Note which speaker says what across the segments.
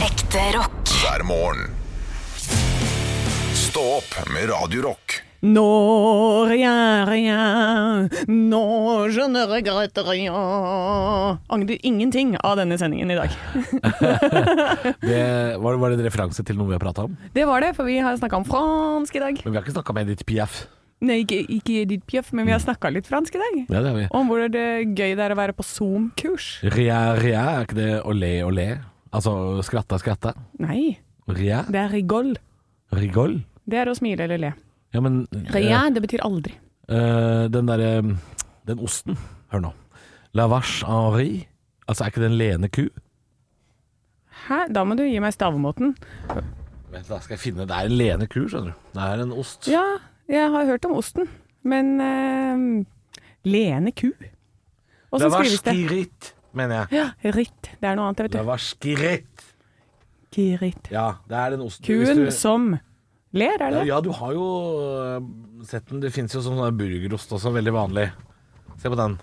Speaker 1: Ekte rock.
Speaker 2: hver morgen. Stå opp med Radio Rock.
Speaker 3: Når jeg rien, når je ne regrette rien Angrer ingenting av denne sendingen i dag.
Speaker 4: Det, var, var det en referanse til noe vi har prata om?
Speaker 3: Det var det, for vi har snakka om fransk i dag.
Speaker 4: Men vi har ikke snakka med Edith Piaf.
Speaker 3: Nei, ikke, ikke Edith Piaf, men vi har snakka litt fransk i dag.
Speaker 4: Ja, det har vi.
Speaker 3: Om hvor det gøy det er å være på Zoom-kurs.
Speaker 4: Ria, ria, er ikke det olé, olé? Altså skratta, skratta?
Speaker 3: Nei,
Speaker 4: Ria?
Speaker 3: det er rigol.
Speaker 4: Rigol?
Speaker 3: Det er å smile eller le.
Speaker 4: Ja, men
Speaker 3: Rien, det betyr aldri.
Speaker 4: eh, eh, Den derre Den osten. Hør nå. La vache en riz. Altså, er ikke det en lene ku?
Speaker 3: Hæ? Da må du gi meg stavemåten.
Speaker 4: Vent, da skal jeg finne Det er en lene ku, skjønner du. Det er en ost.
Speaker 3: Ja, jeg har hørt om osten, men eh, Lene ku. Og
Speaker 4: La
Speaker 3: så
Speaker 4: vache
Speaker 3: skrives det
Speaker 4: skirit, mener jeg.
Speaker 3: Ja, ritt. Det er noe annet,
Speaker 4: La
Speaker 3: vet du.
Speaker 4: vache skirit.
Speaker 3: Kiritt.
Speaker 4: Ja, det er den osten. Hvis
Speaker 3: Kuen
Speaker 4: du-
Speaker 3: som ler, er det det?
Speaker 4: Ja, du har jo øh, sett den. Det fins jo sånn sånn burgerost også, veldig vanlig. Se på den.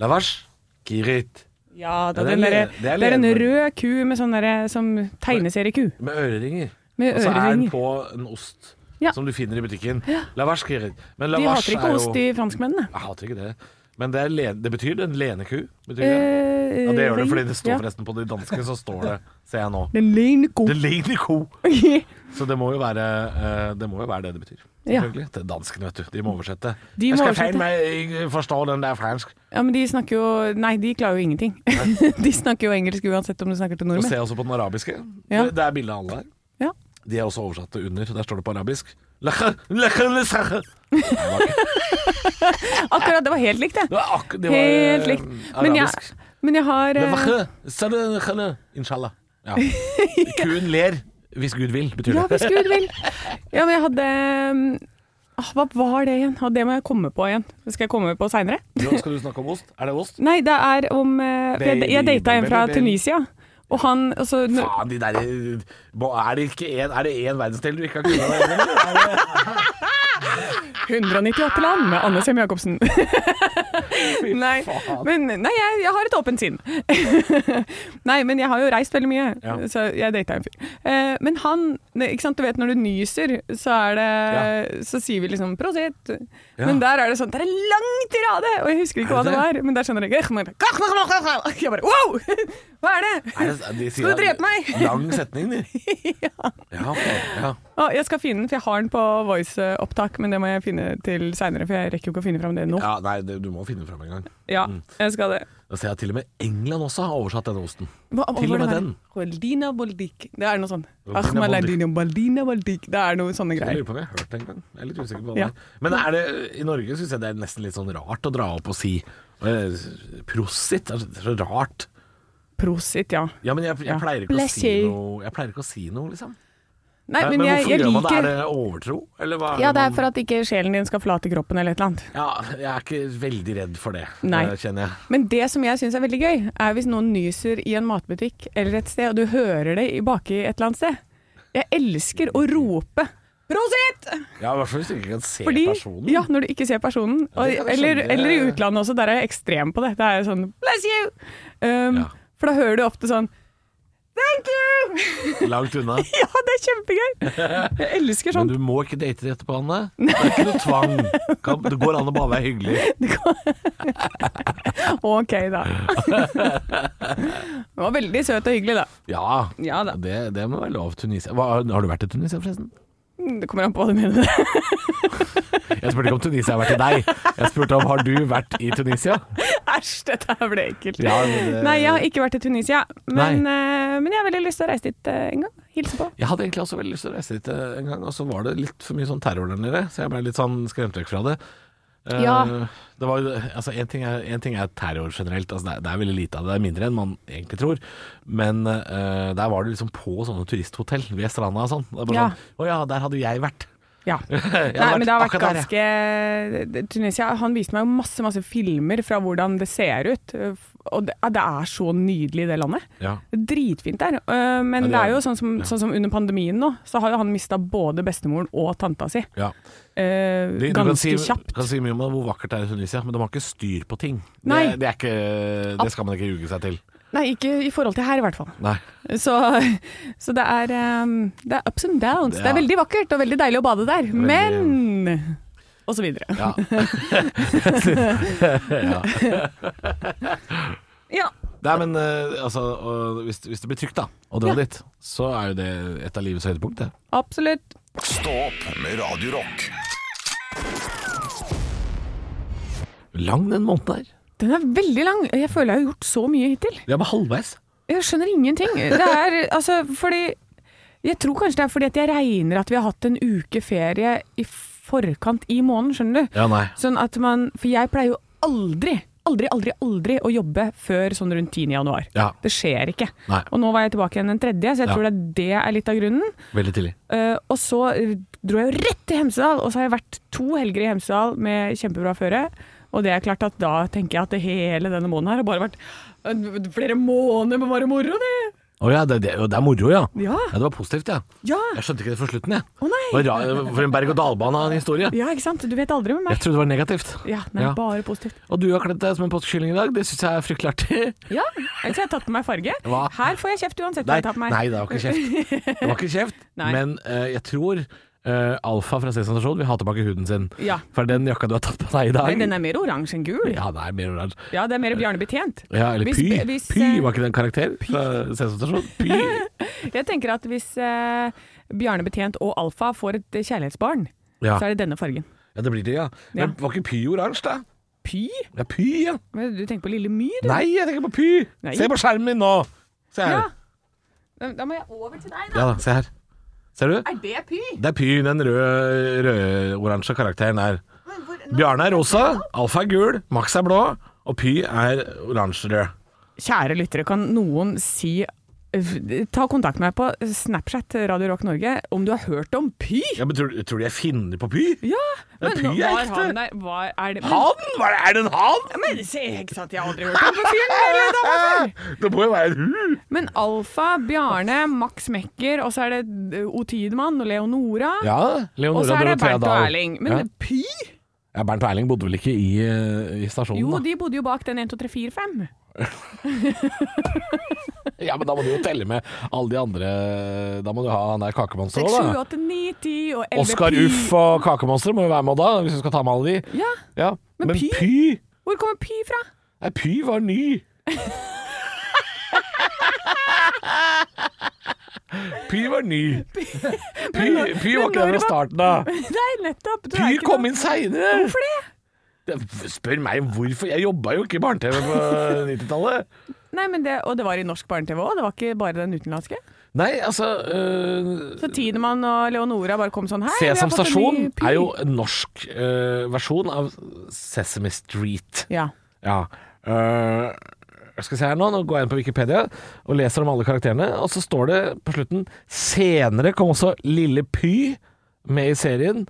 Speaker 4: Lavasj. Kirit.
Speaker 3: Ja, da,
Speaker 4: Ja, det er
Speaker 3: den derre-
Speaker 4: le- det er
Speaker 3: det er en
Speaker 4: lene.
Speaker 3: rød ku med sånn derre som tegneserieku.
Speaker 4: Med øreringer.
Speaker 3: Med
Speaker 4: Og så er den
Speaker 3: øreringer.
Speaker 4: på en ost
Speaker 3: Ja.
Speaker 4: som du finner i butikken. Lavasj kirit. Men
Speaker 3: De
Speaker 4: lavasj
Speaker 3: hater ikke
Speaker 4: er
Speaker 3: ost,
Speaker 4: jo
Speaker 3: de franskmennene.
Speaker 4: Jeg hater ikke det. Men det, er le... det betyr en leneku. Betyr det?
Speaker 3: Eh,
Speaker 4: Ja, det gjør det,
Speaker 3: ring.
Speaker 4: fordi det står
Speaker 3: Ja.
Speaker 4: forresten på de danske, så står det, ser jeg nå.
Speaker 3: Den lene ko.
Speaker 4: Det ligner ko. Så det må jo være eh, det, må jo være det det betyr.
Speaker 3: Ja.
Speaker 4: Selvfølgelig. Det er danskene, vet du. De må oversette.
Speaker 3: De
Speaker 4: jeg
Speaker 3: må
Speaker 4: skal
Speaker 3: oversette.
Speaker 4: feil meg jeg forstår den der fransk.
Speaker 3: Ja, men de snakker jo Nei, de klarer jo ingenting. de snakker jo engelsk uansett om du snakker til
Speaker 4: Og
Speaker 3: nordmenn.
Speaker 4: se også på den arabiske.
Speaker 3: Ja.
Speaker 4: Det, det er bilde av alle her.
Speaker 3: Ja.
Speaker 4: De er også oversatt til under. Der står det på arabisk. Lekhe, lekhe, lesekhe. Det var ikke-
Speaker 3: Akkurat, det var helt likt,
Speaker 4: det
Speaker 3: det.
Speaker 4: var akkurat det var, eh,
Speaker 3: Helt likt. Men jeg,
Speaker 4: Arabisk.
Speaker 3: men jeg har eh,
Speaker 4: Lekhe, sere, lekhe, Inshallah. Ja. Kuen ler hvis Gud vil, betyr
Speaker 3: Ja,
Speaker 4: det.
Speaker 3: hvis Gud vil. Ja, men jeg hadde mm, ah, Hva var det igjen? Ah, Det må jeg komme på igjen. Det skal jeg komme på seinere.
Speaker 4: Nå skal du snakke om ost. Er det ost?
Speaker 3: Nei, det er om eh, for Jeg, jeg data en fra Tunisia, og han altså, og så-
Speaker 4: Faen, de der eh, Er det ikke en, er det en verdensdel du ikke har kunnet være enig i?
Speaker 3: 198 land med Anne Sem Jacobsen. Nei,
Speaker 4: faen.
Speaker 3: men, nei jeg, jeg har et åpent sinn. nei, men jeg har jo reist veldig mye,
Speaker 4: Ja.
Speaker 3: så jeg data en fyr. Eh, men han ne, ikke sant, Du vet når du nyser, så, er det, så sier vi liksom 'prosit'.
Speaker 4: Ja.
Speaker 3: Men der er det sånn Det er en lang tirade! Og jeg husker ikke
Speaker 4: Er
Speaker 3: hva
Speaker 4: det
Speaker 3: det var, men der skjønner jeg ikke. Jeg bare wow! Hva er det?
Speaker 4: Er det- de sier
Speaker 3: Skal du
Speaker 4: at-
Speaker 3: drepe meg?
Speaker 4: Lang setning, de. Ja, faen, ja.
Speaker 3: Å, Ah, jeg skal finne den, for jeg har den på voice-opptak, men det må jeg finne til seinere, for jeg rekker jo ikke å finne fram det nå.
Speaker 4: ja Mm. nei, det, du må finne den fram en gang.
Speaker 3: Ja, jeg skal det.
Speaker 4: Da ser jeg at til og med England også har oversatt denne osten.
Speaker 3: Hva, hva
Speaker 4: Til og
Speaker 3: var det
Speaker 4: med
Speaker 3: her?
Speaker 4: den.
Speaker 3: Holdina Boldik. Det er noe sånn.
Speaker 4: Holdina
Speaker 3: Ahmaladina Baldina Boldik. Det er noe sånne
Speaker 4: Jeg
Speaker 3: greier.
Speaker 4: lurer på om jeg har hørt det en gang. Jeg er litt usikker på hva
Speaker 3: Ja.
Speaker 4: det er. Men er det, i Norge syns jeg det er nesten litt sånn rart å dra opp og si eh, prosit. Altså, Det er så rart.
Speaker 3: Prosit, ja.
Speaker 4: Ja, men jeg, jeg
Speaker 3: Ja.
Speaker 4: pleier ikke
Speaker 3: Bless
Speaker 4: å si
Speaker 3: you.
Speaker 4: noe, jeg pleier ikke å si noe liksom.
Speaker 3: Nei,
Speaker 4: Nei,
Speaker 3: men jeg,
Speaker 4: hvorfor
Speaker 3: jeg
Speaker 4: gjør man det?
Speaker 3: liker
Speaker 4: Er det overtro? Eller hva?
Speaker 3: Ja, det er
Speaker 4: man-
Speaker 3: for at ikke sjelen din skal flate kroppen eller et eller annet.
Speaker 4: Ja, jeg er ikke veldig redd for det,
Speaker 3: Nei.
Speaker 4: eh, kjenner jeg.
Speaker 3: Men det som jeg syns er veldig gøy, er hvis noen nyser i en matbutikk eller et sted, og du hører det i- baki et eller annet sted. Jeg elsker å
Speaker 4: Mm.
Speaker 3: rope 'prosit'!
Speaker 4: Ja, I hvert fall hvis du ikke kan se
Speaker 3: Fordi,
Speaker 4: personen.
Speaker 3: ja, når du ikke ser personen.
Speaker 4: Ja,
Speaker 3: Og,
Speaker 4: det kan jeg
Speaker 3: eller,
Speaker 4: skjønne.
Speaker 3: eller i utlandet også, der er jeg ekstrem på det. Det er jo sånn 'bless you'! Um,
Speaker 4: Ja.
Speaker 3: For da hører du ofte sånn 'thank you'!
Speaker 4: Langt unna.
Speaker 3: Ja, det er kjempegøy! Jeg elsker
Speaker 4: Men
Speaker 3: sånt.
Speaker 4: du må ikke date det etterpå, Anne. Det er ikke noe tvang. Kan- Det går an å bare være hyggelig.
Speaker 3: Ok, da. Det var veldig søt og hyggelig, da.
Speaker 4: Ja,
Speaker 3: Ja da.
Speaker 4: Det, det må være lov. Tunisia Hva, Har du vært i Tunisia, forresten?
Speaker 3: Det kommer an på hva du mener.
Speaker 4: Jeg spurte ikke om Tunisia har vært i deg. Jeg spurte om har du vært i Tunisia?
Speaker 3: Æsj, dette her ble ekkelt.
Speaker 4: Ja, men eh, det-
Speaker 3: Nei, jeg har ikke vært i Tunisia, men, eh, men jeg har veldig lyst til å reise dit eh, en gang. Hilse på.
Speaker 4: Jeg hadde egentlig også veldig lyst til å reise dit eh, en gang, og så var det litt for mye sånn terror der nede, så jeg ble litt sånn skremt vekk fra det. Eh,
Speaker 3: Ja.
Speaker 4: Det var jo, altså en ting, er, en ting er terror generelt, altså det, er, det er veldig lite av det, det er mindre enn man egentlig tror, men eh, der var det liksom på sånne turisthotell ved stranda og sånn. Det er bare
Speaker 3: Ja.
Speaker 4: sånn, å ja, der hadde jo jeg vært.
Speaker 3: Ja.
Speaker 4: Jeg hadde
Speaker 3: Nei, men det har vært
Speaker 4: akkurat der, jeg.
Speaker 3: ganske eh, Tunisia, han viste meg jo masse, masse filmer fra hvordan det ser ut. eh, Og det, ja, det er så nydelig, det landet.
Speaker 4: Ja.
Speaker 3: Det er Dritfint der. Øh, Men
Speaker 4: Ja, det
Speaker 3: det
Speaker 4: er
Speaker 3: er jo
Speaker 4: det.
Speaker 3: sånn som, sånn som under pandemien nå, så har jo han mista både bestemoren og tanta si.
Speaker 4: Ja.
Speaker 3: øh,
Speaker 4: Du, du kan si,
Speaker 3: ganske kjapt.
Speaker 4: kan si mye om hvor vakkert det er i Tunisia, men de har ikke styr på ting.
Speaker 3: Nei.
Speaker 4: Det, det, er ikke, det skal man ikke ljuge seg til.
Speaker 3: Nei, ikke i forhold til her i hvert fall.
Speaker 4: Nei.
Speaker 3: Så, så det, er, ehm, det er ups and downs. Det
Speaker 4: Ja.
Speaker 3: er veldig vakkert og veldig deilig å bade der, men Og så videre.
Speaker 4: Ja.
Speaker 3: Ja.
Speaker 4: Nei, men eh, altså, og hvis, hvis det blir trygt da, å dra
Speaker 3: Ja.
Speaker 4: dit, så er jo det et av livets høydepunkt, det.
Speaker 3: Absolutt.
Speaker 2: Stå opp med Radio Rock.
Speaker 4: Lang den måneden der.
Speaker 3: Den er veldig lang. Jeg føler jeg har gjort så mye hittil.
Speaker 4: Vi er bare halvveis.
Speaker 3: Jeg skjønner ingenting. Det er altså fordi Jeg tror kanskje det er fordi at jeg regner at vi har hatt en uke ferie i forkant i måneden, skjønner du.
Speaker 4: Ja, nei.
Speaker 3: Sånn at man For jeg pleier jo aldri, aldri, aldri, aldri å jobbe før sånn rundt 10. januar.
Speaker 4: Ja,
Speaker 3: Det skjer ikke.
Speaker 4: Nei.
Speaker 3: Og nå var jeg tilbake igjen den tredje, så jeg
Speaker 4: Ja.
Speaker 3: tror det er, det er litt av grunnen.
Speaker 4: veldig tidlig.
Speaker 3: Eh, og så dro jeg jo rett til Hemsedal, og så har jeg vært to helger i Hemsedal med kjempebra føre. Og det er klart at da tenker jeg at det hele denne måneden her har bare vært eh, flere måneder med bare moro, det.
Speaker 4: Å ja, det, det, det er moro, ja.
Speaker 3: Ja.
Speaker 4: Ja, det var positivt, ja.
Speaker 3: Ja.
Speaker 4: Jeg skjønte ikke det for slutten, jeg.
Speaker 3: Å, nei.
Speaker 4: Det var ra- For en berg-og-dal-bane av en historie.
Speaker 3: Ja, ikke sant? Du vet aldri med
Speaker 4: Jeg
Speaker 3: meg.
Speaker 4: trodde det var negativt.
Speaker 3: Ja, nei,
Speaker 4: Ja.
Speaker 3: bare positivt.
Speaker 4: Og du har kledd deg som en påskekylling i dag, det syns jeg er fryktelig artig.
Speaker 3: Ja, ellers har jeg tatt på meg farge.
Speaker 4: Hva?
Speaker 3: Her får jeg kjeft uansett hva
Speaker 4: Nei,
Speaker 3: jeg tar på meg.
Speaker 4: nei, det var ikke kjeft. Det var ikke kjeft
Speaker 3: Nei.
Speaker 4: men eh, jeg tror eh, Alfa fra Sesam Stasjon vil ha tilbake huden sin.
Speaker 3: Ja.
Speaker 4: For den jakka du har tatt på deg i dag
Speaker 3: Nei, den er mer oransje enn gul.
Speaker 4: Ja, det er mer oransje.
Speaker 3: Ja, det er mer Bjarne Betjent.
Speaker 4: Ja, eller
Speaker 3: Hvis-
Speaker 4: Py.
Speaker 3: hvis,
Speaker 4: py,
Speaker 3: eh,
Speaker 4: var ikke det en karakter fra Sesam Stasjon? Py.
Speaker 3: Jeg tenker at hvis eh, Bjarne Betjent og Alfa får et eh, kjærlighetsbarn,
Speaker 4: Ja.
Speaker 3: så er det denne fargen.
Speaker 4: ja, det blir det, ja.
Speaker 3: Ja.
Speaker 4: Men var ikke Py oransje, da?
Speaker 3: Py?
Speaker 4: Ja, Py, ja.
Speaker 3: Men Du tenker på Lille My, du?
Speaker 4: Nei, jeg tenker på Py.
Speaker 3: Nei.
Speaker 4: Se på skjermen min nå. Se her.
Speaker 3: Ja.
Speaker 4: Ja.
Speaker 3: Da- Da må jeg over til deg, da.
Speaker 4: da, se her. Ser du?
Speaker 3: Er det Py?
Speaker 4: Det er Py, den røde, rød-oransje karakteren der. Bjarne er rosa, Alfa er gul, Max er blå, og Py er oransjerød.
Speaker 3: Kjære lyttere, kan noen si eh, Ta kontakt med meg på Snapchat Radio Rock Norge om du har hørt om Py?
Speaker 4: Ja, men tror, du- tror du jeg finner på Py?
Speaker 3: Ja!
Speaker 4: Men Py er
Speaker 3: var
Speaker 4: ekte.
Speaker 3: han der Var er det
Speaker 4: Han? Hva er det- er det en han?
Speaker 3: Men se, ikke sant, jeg har aldri hørt om på fyren eller dama før.
Speaker 4: Det må jo være en hu!
Speaker 3: Men Alfa, Bjarne, Max Mekker, og så er det eh, O Tidemann og Leonora.
Speaker 4: Ja,
Speaker 3: og
Speaker 4: Leonora
Speaker 3: så er det
Speaker 4: Dorothea
Speaker 3: Bernt og
Speaker 4: Dahl.
Speaker 3: Erling. Men
Speaker 4: ja.
Speaker 3: Py?
Speaker 4: ja, Bernt og Erling bodde vel ikke i, eh, i stasjonen,
Speaker 3: Jo,
Speaker 4: da? Sånn,
Speaker 3: de bodde jo bak den 1, 2, 3, 4, 5.
Speaker 4: Ja, men da må du jo telle med alle de andre eh, Da må du ha han der kakemonsteret
Speaker 3: 6, 7,
Speaker 4: òg, da.
Speaker 3: 8, 9, 10 og 11
Speaker 4: Oskar
Speaker 3: Pi.
Speaker 4: Uff og Kakemonsteret må jo være med da, hvis du skal ta med alle de.
Speaker 3: Ja,
Speaker 4: Ja,
Speaker 3: Men
Speaker 4: Men,
Speaker 3: Py?
Speaker 4: Py?
Speaker 3: Hvor kommer Py fra?
Speaker 4: Nei, Py var ny. Py var ny. Py, Py var
Speaker 3: men
Speaker 4: ikke der
Speaker 3: når
Speaker 4: fra starten av.
Speaker 3: Nei, nettopp. Du er
Speaker 4: Py
Speaker 3: ikke
Speaker 4: kom
Speaker 3: noe-
Speaker 4: inn seinere.
Speaker 3: Hvorfor det?
Speaker 4: Spør meg hvorfor. Jeg jobba jo ikke i barne-TV på 90-tallet.
Speaker 3: Nei, men det, Og det var i norsk barne-TV òg, det var ikke bare den utenlandske?
Speaker 4: Nei, altså øh,
Speaker 3: Så Tidemann og Leonora bare kom sånn her. vi har
Speaker 4: Sesam
Speaker 3: fått en
Speaker 4: Stasjon
Speaker 3: ny Py.
Speaker 4: er jo en norsk øh, versjon av Sesame Street.
Speaker 3: Ja.
Speaker 4: Ja. øh, skal vi se her nå, nå går jeg inn på Wikipedia og leser om alle karakterene, og så står det på slutten Senere kom også Lille Py med i serien.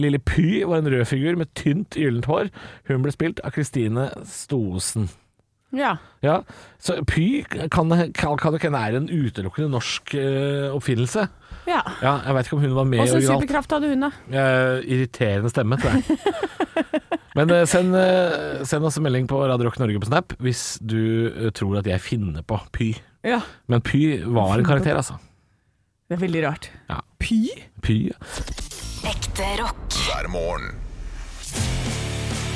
Speaker 4: Lille Py var en rød figur med tynt, gyllent hår. Hun ble spilt av Kristine Stoesen.
Speaker 3: ja.
Speaker 4: Ja, så Py kan kan- kan jo ikke være en utelukkende norsk eh, oppfinnelse.
Speaker 3: ja.
Speaker 4: Ja, Jeg veit ikke om hun var med
Speaker 3: Og
Speaker 4: i
Speaker 3: så
Speaker 4: originalt.
Speaker 3: superkraft hadde hun, da.
Speaker 4: Eh, irriterende stemme, tror jeg. Men eh, send, eh, send oss en melding på Radio Rock Norge på Snap hvis du eh, tror at jeg finner på Py.
Speaker 3: Ja.
Speaker 4: Men Py var en karakter, altså.
Speaker 3: Det er veldig rart.
Speaker 4: Ja.
Speaker 3: Py?
Speaker 4: Py. ja.
Speaker 1: Ekte rock.
Speaker 2: hver morgen.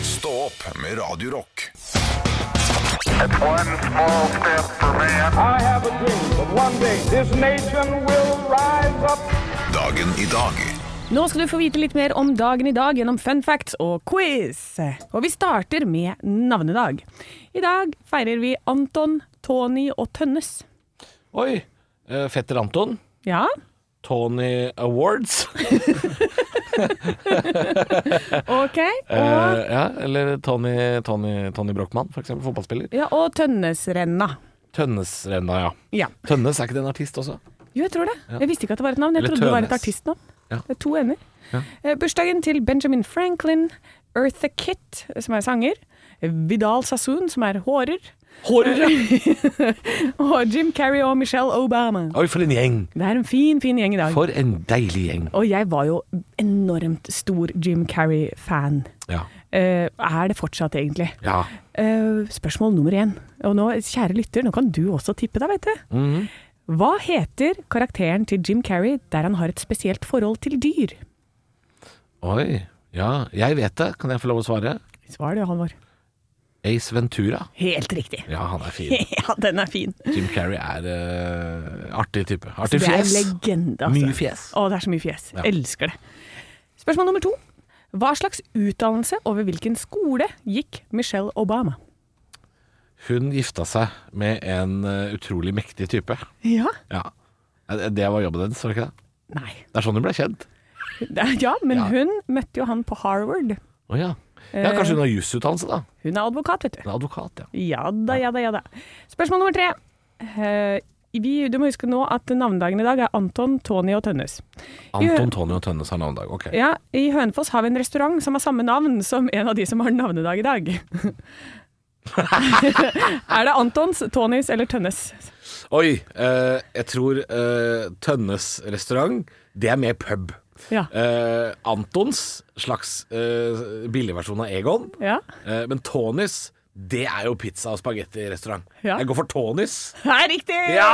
Speaker 2: Stå opp med Radio Rock.
Speaker 5: It's one small step for man.
Speaker 6: I have a dream that one day this nation will rise up.
Speaker 2: Dagen i dag
Speaker 3: Nå skal du få vite litt mer om dagen i dag gjennom fun facts og quiz. Og vi starter med navnedag. I dag feirer vi Anton, Tony og Tønnes.
Speaker 4: Oi! eh, Fetter Anton.
Speaker 3: Ja,
Speaker 4: Tony Awards.
Speaker 3: ok. Og,
Speaker 4: Eh, ja, eller Tony, Tony, Tony Brochmann, for eksempel Fotballspiller.
Speaker 3: ja, og Tønnesrenna.
Speaker 4: Tønnesrenna, ja.
Speaker 3: Ja.
Speaker 4: Tønnes er ikke det en artist også?
Speaker 3: Jo, jeg tror det. Jeg visste ikke at det var et navn. Jeg
Speaker 4: Eller
Speaker 3: trodde det var et
Speaker 4: Tønes.
Speaker 3: artistnavn.
Speaker 4: Ja.
Speaker 3: Det er to ender. Eh, Bursdagen til Benjamin Franklin, Eartha Kitt, som er sanger, Vidal Sassoon, som er hårer,
Speaker 4: Hårer, ja!
Speaker 3: og Jim Carrey og Michelle Obama.
Speaker 4: Oi, for en gjeng.
Speaker 3: Det er en fin, fin gjeng i dag.
Speaker 4: For en deilig gjeng.
Speaker 3: Og jeg var jo enormt stor Jim Carrey-fan.
Speaker 4: Ja.
Speaker 3: Eh, eh, er det fortsatt egentlig?
Speaker 4: Ja.
Speaker 3: Eh, spørsmål nummer én. Og nå, kjære lytter, nå kan du også tippe deg, vet du.
Speaker 4: Mhm.
Speaker 3: Hva heter karakteren til Jim Carrey der han har et spesielt forhold til dyr?
Speaker 4: Oi. Ja, jeg vet det. Kan jeg få lov å svare?
Speaker 3: Svar det, Halvor.
Speaker 4: Ace Ventura.
Speaker 3: Helt riktig.
Speaker 4: Ja, han er fin.
Speaker 3: Ja, den er fin.
Speaker 4: Jim Carrey er eh, artig type.
Speaker 3: Det
Speaker 4: Artig
Speaker 3: er en
Speaker 4: fjes.
Speaker 3: legende, altså.
Speaker 4: Mye fjes.
Speaker 3: Å, det er så mye fjes.
Speaker 4: Ja.
Speaker 3: Elsker det. Spørsmål nummer to. Hva slags utdannelse og ved hvilken skole gikk Michelle Obama?
Speaker 4: Hun gifta seg med en eh, utrolig mektig type.
Speaker 3: Ja?
Speaker 4: Ja. Eh, Det var jobben hennes, var det ikke det?
Speaker 3: Nei.
Speaker 4: Det er sånn hun ble kjent.
Speaker 3: Det er- Ja, men
Speaker 4: Ja.
Speaker 3: hun møtte jo han på Harvard.
Speaker 4: Å ja. ja. Kanskje
Speaker 3: Eh.
Speaker 4: hun har jusutdannelse, da.
Speaker 3: Hun er advokat, vet du.
Speaker 4: Hun er advokat, ja.
Speaker 3: Ja da, ja da, ja da. Spørsmål nummer tre. Eh, vi, du må huske nå at navnedagen i dag er Anton, Tony og Tønnes.
Speaker 4: Anton Tonio Tønnes har navnedag. Ok.
Speaker 3: Ja, I Hønefoss har vi en restaurant som har samme navn som en av de som har navnedag i dag. er det Antons, Tonys eller Tønnes?
Speaker 4: Oi, eh, jeg tror eh, Tønnes restaurant, det er mer pub.
Speaker 3: Ja.
Speaker 4: Eh, Antons, slags eh, billigversjon av Egon.
Speaker 3: ja.
Speaker 4: Eh, men Tonys, det er jo pizza- og spagettirestaurant.
Speaker 3: Ja.
Speaker 4: Jeg går for Tonys.
Speaker 3: Det er riktig!
Speaker 4: Ja!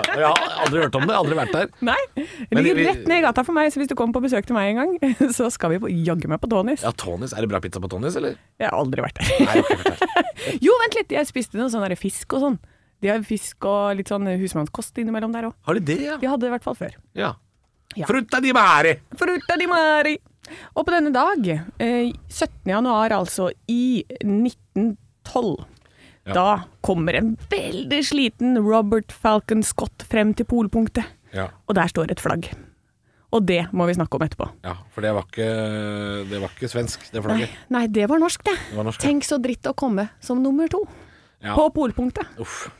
Speaker 4: Jeg har aldri hørt om det, aldri vært der.
Speaker 3: Nei,
Speaker 4: Men
Speaker 3: det ligger
Speaker 4: vi-
Speaker 3: rett ned i gata for meg, så hvis du kommer på besøk til meg en gang, så skal vi på- jaggu meg på Tonys.
Speaker 4: Ja, Tonys, Er det bra pizza på Tonys, eller?
Speaker 3: Jeg har aldri vært der.
Speaker 4: Nei, ok, fortell.
Speaker 3: Jo, vent litt, jeg spiste noe sånn der fisk og sånn. De har fisk og litt sånn husmannskost innimellom der òg.
Speaker 4: Har de det, ja?
Speaker 3: De hadde det i hvert fall før.
Speaker 4: ja.
Speaker 3: Ja.
Speaker 4: Frutta di mari!
Speaker 3: Frutta di mari! Og på denne dag, eh, 17. januar altså, i 1912,
Speaker 4: Ja.
Speaker 3: da kommer en veldig sliten Robert Falcon Scott frem til polpunktet.
Speaker 4: Ja,
Speaker 3: Og der står et flagg. Og det må vi snakke om etterpå.
Speaker 4: ja, for det var ikke, det var ikke svensk,
Speaker 3: Nei,
Speaker 4: det flagget.
Speaker 3: nei det var norsk, det.
Speaker 4: var norsk, ja.
Speaker 3: Tenk så dritt å komme som nummer to
Speaker 4: Ja.
Speaker 3: på polpunktet.
Speaker 4: Uff.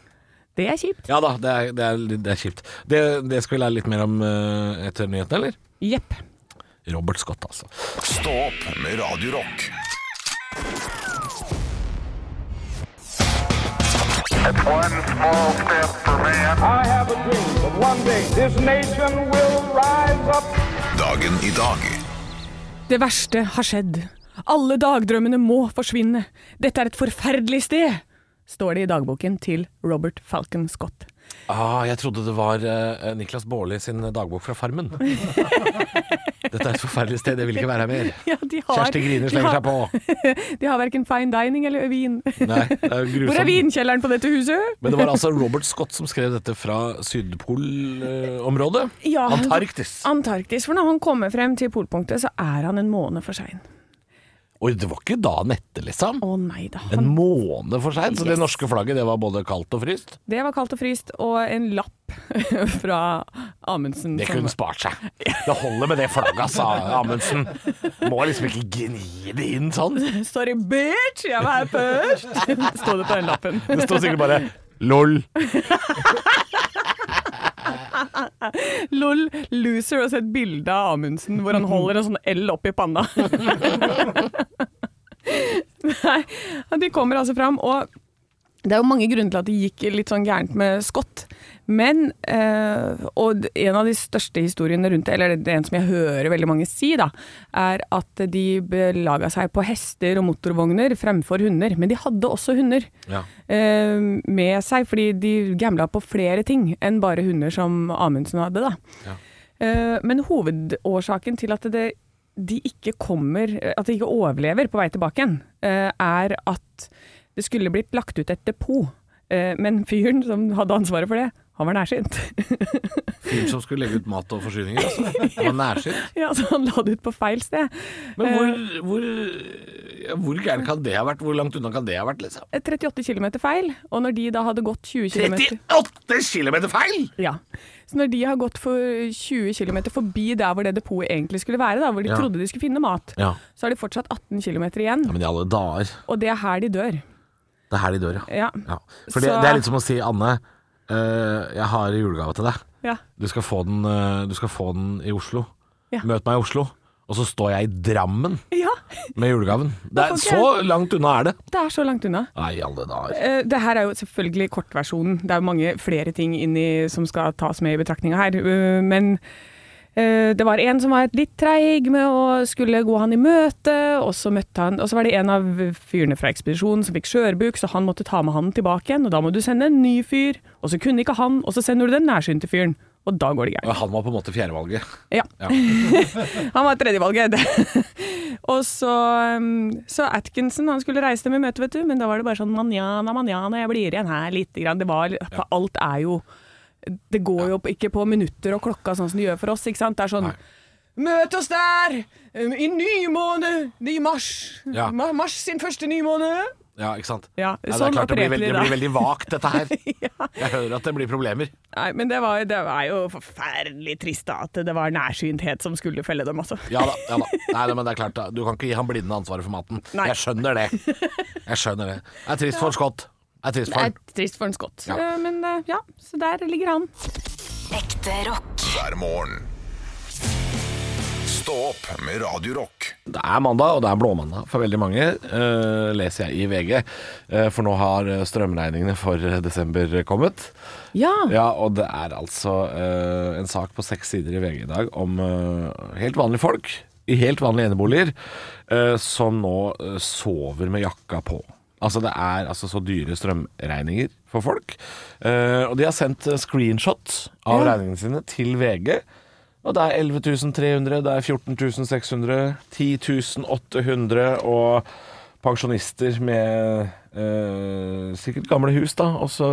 Speaker 3: Det er kjipt.
Speaker 4: Ja da, det er, det er, det er kjipt. Det, det skal vi lære litt mer om eh, etter nyhetene, eller?
Speaker 3: Jepp.
Speaker 4: Robert Scott, altså.
Speaker 2: Stå opp med Radio Rock.
Speaker 5: It's one small step for man.
Speaker 6: I have a dream that one day this nation will rise up.
Speaker 2: Dagen i dag.
Speaker 3: Det verste har skjedd. Alle dagdrømmene må forsvinne. Dette er et forferdelig sted, står det i dagboken til Robert Falcon Scott.
Speaker 4: Ah, jeg trodde det var eh, Niklas Baarli sin dagbok fra Farmen. Dette er et forferdelig sted, jeg vil ikke være her mer.
Speaker 3: Ja, de har,
Speaker 4: Kjersti Grine slenger seg på.
Speaker 3: på. De har verken fine dining eller vin.
Speaker 4: Nei, det er jo
Speaker 3: Hvor er
Speaker 4: grusomt.
Speaker 3: vinkjelleren på dette huset?
Speaker 4: Men det var altså Robert Scott som skrev dette fra Sydpolområdet.
Speaker 3: Ja.
Speaker 4: Antarktis.
Speaker 3: Antarktis. For når han kommer frem til polpunktet, så er han en måned for sein.
Speaker 4: Og det var ikke dagen etter, liksom.
Speaker 3: Å nei da.
Speaker 4: En måned for seint. Så det
Speaker 3: Yes.
Speaker 4: norske flagget det var både kaldt og fryst.
Speaker 3: Det var kaldt og fryst, og en lapp fra Amundsen.
Speaker 4: Det
Speaker 3: som-
Speaker 4: kunne spart seg. Det holder med det flagget, sa Amundsen. Må liksom ikke gni det inn sånn.
Speaker 3: Sorry, bitch! Jeg var her først! Sto det på den lappen.
Speaker 4: Det står sikkert bare LOL.
Speaker 3: Lol, loser, og så et bilde av Amundsen hvor han holder en sånn L opp i panna. Nei, de kommer altså fram, og det er jo mange grunner til at det gikk litt sånn gærent med Scott. Men, eh, og en av de største historiene rundt det, eller det er en som jeg hører veldig mange si, da, er at de belaga seg på hester og motorvogner fremfor hunder. Men de hadde også hunder
Speaker 4: Ja.
Speaker 3: eh, med seg, fordi de gambla på flere ting enn bare hunder som Amundsen hadde. da. Eh, Men hovedårsaken til at det, de ikke kommer, at de ikke overlever på vei tilbake igjen, eh, er at det skulle blitt lagt ut et depot. Eh, Men fyren som hadde ansvaret for det, han var nærsynt.
Speaker 4: Fyren som skulle legge ut mat og forsyninger, altså. Det var nærsynt.
Speaker 3: ja, så han la det ut på feil sted.
Speaker 4: Men hvor, hvor, ja, hvor gæren kan det ha vært? Hvor langt unna kan det ha vært, liksom?
Speaker 3: Eh, 38 km feil, og når de da hadde gått 20 km
Speaker 4: 38 km feil!
Speaker 3: Ja. Så når de har gått for 20 km forbi der hvor det depotet egentlig skulle være, da, hvor de
Speaker 4: Ja.
Speaker 3: trodde de skulle finne mat,
Speaker 4: Ja.
Speaker 3: så har de fortsatt 18 km igjen,
Speaker 4: ja, men i alle dager.
Speaker 3: og det er her de dør.
Speaker 4: Det er her de dør, ja.
Speaker 3: Ja.
Speaker 4: Ja. For det,
Speaker 3: Så-
Speaker 4: det er litt som å si Anne, eh, jeg har julegave til deg.
Speaker 3: ja.
Speaker 4: Du skal få den, eh, du skal få den i Oslo.
Speaker 3: Ja.
Speaker 4: Møt meg i Oslo. Og så står jeg i Drammen
Speaker 3: ja.
Speaker 4: med julegaven. Det er,
Speaker 3: Hvorfor
Speaker 4: så langt unna er det.
Speaker 3: Det er så langt unna.
Speaker 4: Nei, i alle dager.
Speaker 3: Eh, Det her er jo selvfølgelig kortversjonen. Det er jo mange flere ting inni som skal tas med i betraktninga her. eh, Men eh, det var en som var litt treig med å skulle gå han i møte, og så møtte han Og så var det en av fyrene fra ekspedisjonen som fikk skjørbuk, så han måtte ta med han tilbake igjen, og da må du sende en ny fyr, og så kunne ikke han, og så sender du den nærsynte fyren, og da går det gærent.
Speaker 4: Han var på en måte fjerdevalget.
Speaker 3: Ja.
Speaker 4: Ja.
Speaker 3: han var tredjevalget. og så, um, så Atkinson han skulle reise dem i møte, vet du, men da var det bare sånn manjana, manjana, jeg blir igjen her lite grann. Det var, for alt er jo Det går jo ikke på minutter og klokka sånn som det gjør for oss. ikke sant? Det er sånn
Speaker 4: Nei.
Speaker 3: Møt oss der! um, I nymåne! I mars!
Speaker 4: Ja.
Speaker 3: Ma- Mars sin første nymåne!
Speaker 4: Ja, ikke sant?
Speaker 3: Ja,
Speaker 4: Nei, det
Speaker 3: sånn
Speaker 4: er klart det
Speaker 3: opererte
Speaker 4: blir,
Speaker 3: de
Speaker 4: veldig, det
Speaker 3: da.
Speaker 4: blir veldig vagt, dette her. Jeg hører at det blir problemer.
Speaker 3: Nei, men det var, det var jo forferdelig trist da, at det var nærsynthet som skulle felle dem, altså.
Speaker 4: Ja da. ja da Nei, men det er klart da. Du kan ikke gi han blinde ansvaret for maten.
Speaker 3: Nei.
Speaker 4: Jeg skjønner det. Jeg skjønner det. Det er trist for Scott. Det er trist for
Speaker 3: Det
Speaker 4: han.
Speaker 3: er trist for en skott.
Speaker 4: Ja.
Speaker 3: Eh, Men eh, ja, så der ligger han.
Speaker 1: Ekte rock.
Speaker 2: hver morgen. Stå opp med Radio Rock.
Speaker 4: Det er mandag, og det er blåmandag for veldig mange, eh, leser jeg i VG. Eh, for nå har eh, strømregningene for eh, desember kommet.
Speaker 3: Ja.
Speaker 4: Ja, og det er altså eh, en sak på seks sider i VG i dag om eh, helt vanlige folk i helt vanlige eneboliger eh, som nå eh, sover med jakka på. Altså Det er altså så dyre strømregninger for folk. Eh, og de har sendt eh, screenshot av regningene sine til VG. Og det er 11.300, det er 14.600, 10.800 og pensjonister med eh, sikkert gamle hus, da. Også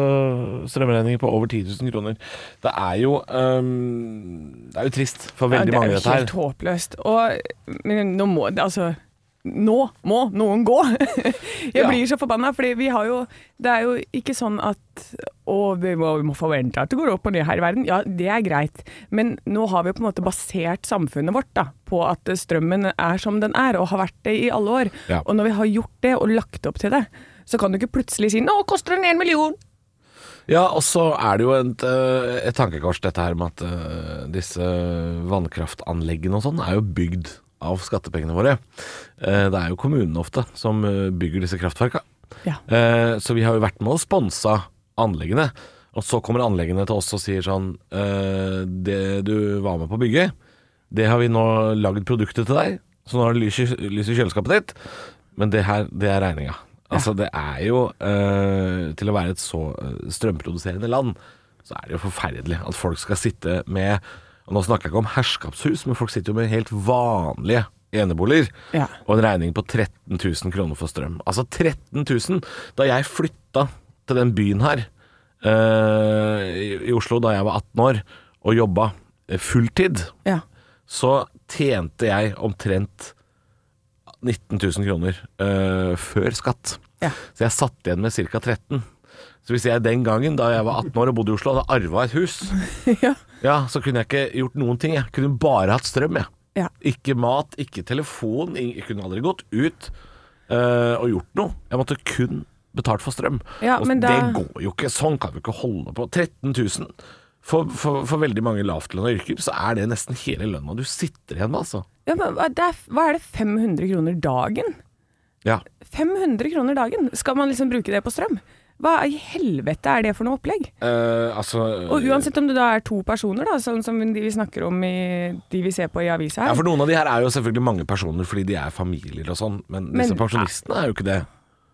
Speaker 4: strømregninger på over 10 000 kroner. Det er jo ehm, Det er jo trist for veldig
Speaker 3: det er
Speaker 4: mange,
Speaker 3: jo
Speaker 4: dette her.
Speaker 3: helt håpløst. Og men nå må det altså nå må noen gå! Jeg
Speaker 4: Ja.
Speaker 3: blir så forbanna, for vi har jo Det er jo ikke sånn at Å, vi må, vi må forvente at det går opp og ned her i verden. Ja, det er greit, men nå har vi på en måte basert samfunnet vårt da, på at strømmen er som den er, og har vært det i alle år.
Speaker 4: Ja.
Speaker 3: Og når vi har gjort det og lagt opp til det, så kan du ikke plutselig si 'nå koster den en million'!
Speaker 4: Ja, og så er det jo et, eh, et tankekors dette her med at eh, disse vannkraftanleggene og sånn er jo bygd av skattepengene våre. Eh, Det er jo kommunene ofte som eh, bygger disse kraftverka.
Speaker 3: Ja.
Speaker 4: Eh, Så vi har jo vært med og sponsa anleggene. Og så kommer anleggene til oss og sier sånn eh, Det du var med på å bygge, det har vi nå lagd produktet til deg, så nå har det lys i, lys i kjøleskapet ditt. Men det her, det er regninga. Altså, det er jo eh, Til å være et så eh, strømproduserende land, så er det jo forferdelig at folk skal sitte med og Nå snakker jeg ikke om herskapshus, men folk sitter jo med helt vanlige eneboliger.
Speaker 3: Ja.
Speaker 4: Og en regning på 13 000 kroner for strøm. Altså 13 000! Da jeg flytta til den byen her eh, i, i Oslo da jeg var 18 år og jobba eh, fulltid
Speaker 3: Ja.
Speaker 4: så tjente jeg omtrent 19 000 kroner eh, før skatt.
Speaker 3: Ja.
Speaker 4: Så jeg satt igjen med ca. 13 Så hvis jeg den gangen, da jeg var 18 år og bodde i Oslo, hadde arva et hus,
Speaker 3: ja.
Speaker 4: ja, så kunne jeg ikke gjort noen ting. Jeg kunne bare hatt strøm, jeg.
Speaker 3: Ja.
Speaker 4: Ikke mat, ikke telefon. ing- Jeg kunne aldri gått ut eh, og gjort noe. Jeg måtte kun betalt for strøm.
Speaker 3: Ja,
Speaker 4: og
Speaker 3: men da-
Speaker 4: Det går jo ikke. Sånn kan vi ikke holde på. 13 000. For, for, for veldig mange lavtlønna yrker så er det nesten hele lønna du sitter igjen med, altså.
Speaker 3: Ja, men hva, det er, hva er det 500 kroner dagen?
Speaker 4: Ja.
Speaker 3: 500 kroner dagen? Skal man liksom bruke det på strøm? Hva i helvete er det for noe opplegg?
Speaker 4: Eh, altså
Speaker 3: Og uansett om det da er to personer, da, sånn som de vi snakker om i de vi ser på i avisa
Speaker 4: ja,
Speaker 3: her.
Speaker 4: For noen av de her er jo selvfølgelig mange personer fordi de er familier og sånn, men disse
Speaker 3: Men-
Speaker 4: pensjonistene er jo ikke det.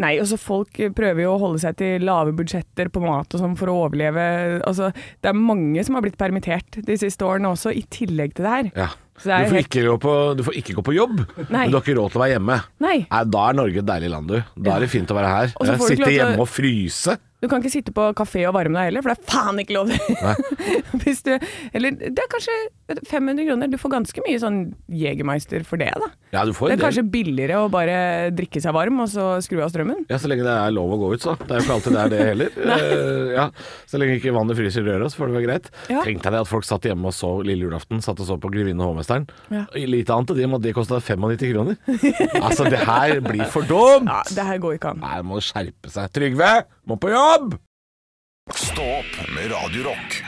Speaker 3: Nei, også folk prøver jo å holde seg til lave budsjetter på mat og sånn for å overleve. Altså, det er mange som har blitt permittert de siste årene også, i tillegg til det her.
Speaker 4: Ja.
Speaker 3: Så
Speaker 4: Du,
Speaker 3: det er
Speaker 4: får
Speaker 3: helt-
Speaker 4: ikke gå på, du får ikke gå på jobb,
Speaker 3: Nei.
Speaker 4: men du har ikke råd til å være hjemme.
Speaker 3: Nei,
Speaker 4: Nei, da er Norge et deilig land, du. Da er det fint å være her.
Speaker 3: Og så får du ikke
Speaker 4: Sitte
Speaker 3: lov til å-
Speaker 4: hjemme og fryse.
Speaker 3: du kan ikke sitte på kafé og varme deg heller, for det er faen ikke lov til. Hvis du, eller det er kanskje 500 kroner, du får ganske mye sånn Jegermeister for det da.
Speaker 4: Ja, du får
Speaker 3: Det
Speaker 4: en
Speaker 3: er
Speaker 4: del.
Speaker 3: kanskje billigere å bare drikke seg varm og så skru av strømmen.
Speaker 4: Ja, Så lenge det er lov å gå ut, så. Det er jo ikke alltid det er det heller. Eh, ja. Så lenge ikke vannet fryser i røra, så får det være greit.
Speaker 3: Ja.
Speaker 4: Tenk deg det at folk satt hjemme og så lille julaften, satt og så på Grevinne og hovmesteren.
Speaker 3: Ja.
Speaker 4: I Lite annet til dem at det kosta 95 kroner. altså, det her blir for dumt!
Speaker 3: Ja, det her går ikke an.
Speaker 4: Her må det skjerpe seg. Trygve, må på jobb!
Speaker 2: Stå opp med Radio Rock.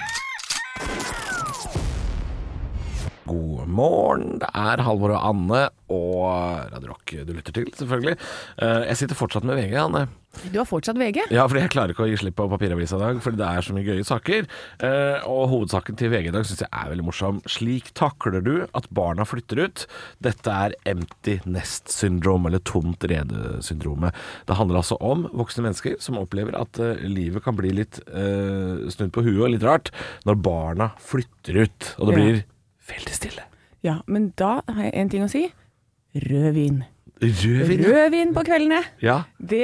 Speaker 4: God morgen, det er Halvor og Anne og Radio Rock du lytter til, selvfølgelig. Eh, Jeg sitter fortsatt med VG, Anne.
Speaker 3: Du har fortsatt VG.
Speaker 4: Ja, fordi jeg klarer ikke å gi slipp på papiravisa i dag, fordi det er så mye gøye saker. Eh, og hovedsaken til VG i dag syns jeg er veldig morsom. Slik takler du at barna flytter ut. Dette er empty nest syndrom, eller tomt rede-syndromet. Det handler altså om voksne mennesker som opplever at eh, livet kan bli litt eh, snudd på huet og litt rart når barna flytter ut, og det
Speaker 3: Ja.
Speaker 4: blir veldig stille.
Speaker 3: Ja, men da har jeg en ting å si. Rødvin.
Speaker 4: Rødvin.
Speaker 3: Rødvin på kveldene.
Speaker 4: Ja.
Speaker 3: Det,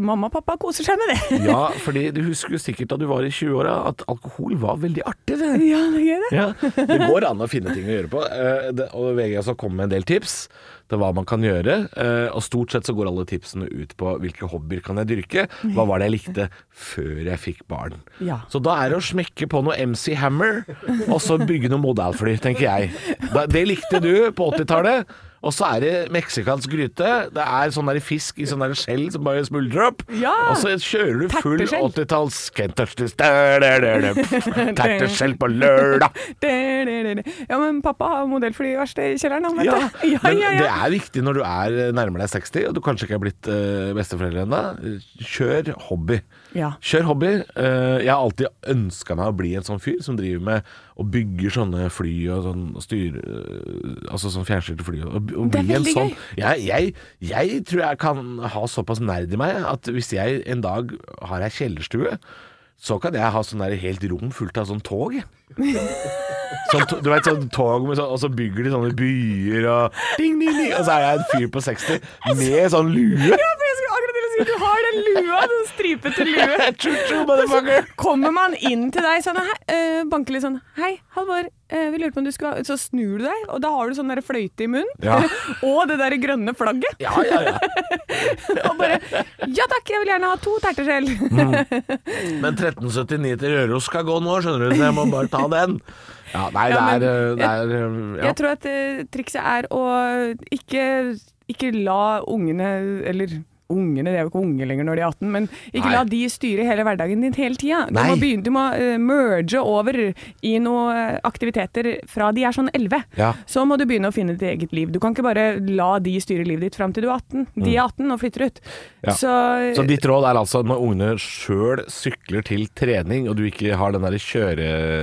Speaker 3: mamma og pappa koser seg med det.
Speaker 4: ja, fordi du husker jo sikkert da du var i 20-åra at alkohol var veldig artig. Det.
Speaker 3: Ja, det er det.
Speaker 4: Ja, det går an å finne ting å gjøre på. Eh, det- Og VG også kom med en del tips til hva man kan gjøre. Eh, Og stort sett så går alle tipsene ut på hvilke hobbyer kan jeg dyrke, hva var det jeg likte før jeg fikk barn.
Speaker 3: Ja.
Speaker 4: Så da er det å smekke på noe MC Hammer, og så bygge noe modellfly, tenker jeg. Da- Det likte du på 80-tallet. Og så er det meksikansk gryte. Det er sånn der fisk i sånn der skjell som bare smuldrer opp.
Speaker 3: Ja.
Speaker 4: Og så kjører du full
Speaker 3: Terteskjell.
Speaker 4: 80-talls Terteskjell på lørdag.
Speaker 3: Det, det, det, det. Ja, men pappa har modellflyverksted i kjelleren, han, vet
Speaker 4: Ja,
Speaker 3: du. Ja,
Speaker 4: men
Speaker 3: ja,
Speaker 4: det
Speaker 3: ja.
Speaker 4: er viktig når du er eh, nærmer deg 60 og du kanskje ikke er blitt eh, besteforeldre ennå. Kjør hobby.
Speaker 3: Ja.
Speaker 4: Kjør hobby. Eh, jeg har alltid ønska meg å bli en sånn fyr som driver med og bygger sånne fly og sånn og styr, eh, Altså sånn fjernstyrte fly. Og, og
Speaker 3: Det er
Speaker 4: bli en
Speaker 3: veldig
Speaker 4: sånn,
Speaker 3: gøy.
Speaker 4: jeg, jeg, jeg tror jeg kan ha såpass nerd i meg at hvis jeg en dag har ei kjellerstue, så kan jeg ha sånn der helt rom fullt av sånn tog. jeg. Sånn, to- du vet, sånn tog med sånn, Og så bygger de sånne byer og ding, ding, ding, Og så er jeg en fyr på 60 med sånn lue.
Speaker 3: Ja, for jeg skulle akkurat til å si du har den lua, den stripete lue.
Speaker 4: True, true, motherfucker.
Speaker 3: Kommer man inn til deg sånn, hei, eh, banker litt sånn Hei, Halvor, eh, vi lurte på om du skulle Så snur du deg, og da har du sånn der fløyte i munnen.
Speaker 4: Ja.
Speaker 3: og det der grønne flagget.
Speaker 4: Ja, ja, ja.
Speaker 3: Og bare Ja takk, jeg vil gjerne ha to terteskjell.
Speaker 4: Men 1379 til Røros skal gå nå, skjønner du, så jeg må bare ta den. Ja, nei, det
Speaker 3: Ja, men
Speaker 4: er, eh, det er eh, ja.
Speaker 3: Jeg tror at eh, trikset er å ikke, ikke la ungene Eller ungene, de er jo ikke unge lenger når de er 18, men ikke
Speaker 4: Nei.
Speaker 3: la de styre hele hverdagen din hele tida. Du
Speaker 4: Nei.
Speaker 3: må, begynne, du må eh, merge over i noen aktiviteter fra de er sånn 11.
Speaker 4: Ja.
Speaker 3: Så må du begynne å finne ditt eget liv. Du kan ikke bare la de styre livet ditt fram til du er 18. De er 18 og flytter ut.
Speaker 4: Mm. Ja.
Speaker 3: Så,
Speaker 4: Så ditt råd er altså når ungene sjøl sykler til trening, og du ikke har den der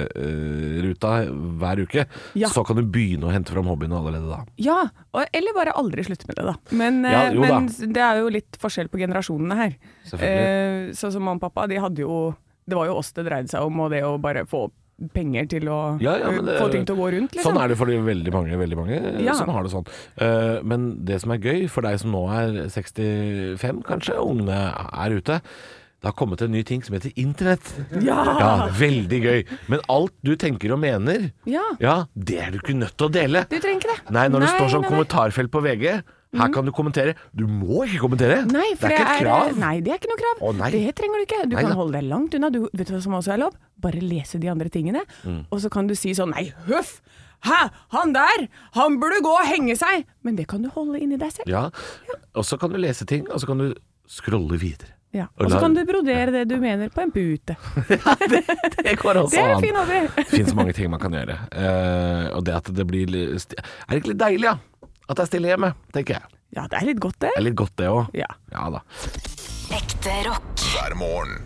Speaker 4: kjøreruta hver uke,
Speaker 3: Ja.
Speaker 4: så kan du begynne å hente fram hobbyen allerede da.
Speaker 3: ja, og, eller bare aldri slutte med det, da. Men,
Speaker 4: Ja,
Speaker 3: eh,
Speaker 4: jo da.
Speaker 3: men det er jo litt forskjell på generasjonene her.
Speaker 4: Selvfølgelig.
Speaker 3: Eh, Sånn som mamma og pappa, de hadde jo Det var jo oss det dreide seg om, og det å bare få penger til å eh,
Speaker 4: Ja, ja, men det-
Speaker 3: få ting til å gå rundt, liksom.
Speaker 4: Sånn er det for de veldig mange, veldig mange eh,
Speaker 3: Ja.
Speaker 4: som har det sånn. Eh, men det som er gøy for deg som nå er 65 kanskje, og ungene er ute, det har kommet en ny ting som heter internett.
Speaker 3: Ja!
Speaker 4: ja! Veldig gøy. Men alt du tenker og mener,
Speaker 3: Ja.
Speaker 4: det er du ikke nødt til å dele.
Speaker 3: Du trenger ikke det.
Speaker 4: Nei, når det står sånn
Speaker 3: nei, nei. Mm.
Speaker 4: kommentarfelt på VG, her kan du kommentere. Du må ikke kommentere!
Speaker 3: Nei,
Speaker 4: det
Speaker 3: for
Speaker 4: er ikke et krav.
Speaker 3: Nei, det er ikke noe krav.
Speaker 4: Å, nei.
Speaker 3: Det trenger du ikke. Du
Speaker 4: Nei
Speaker 3: kan
Speaker 4: da.
Speaker 3: holde deg langt unna. Du, vet du hva som også er lov? Bare lese de andre tingene.
Speaker 4: Mm.
Speaker 3: Og så kan du si sånn Nei, huff! Hæ, han der! Han burde gå og henge seg! Men det kan du holde inni deg selv.
Speaker 4: Ja. Og så kan du lese ting, og så kan du scrolle videre.
Speaker 3: Ja.
Speaker 4: Og
Speaker 3: Og så
Speaker 4: la-
Speaker 3: kan du brodere det du mener på en pute.
Speaker 4: Det går også
Speaker 3: Det er en
Speaker 4: an.
Speaker 3: fin hobby.
Speaker 4: Det finnes mange ting man kan gjøre. Eh, og det at det blir li- sti- Er det ikke litt deilig, ja? At det er stille hjemme, tenker jeg.
Speaker 3: Ja, det er litt godt, det.
Speaker 4: Det er litt godt, det òg.
Speaker 3: Ja.
Speaker 4: ja da.
Speaker 1: Ekte rock.
Speaker 2: hver morgen.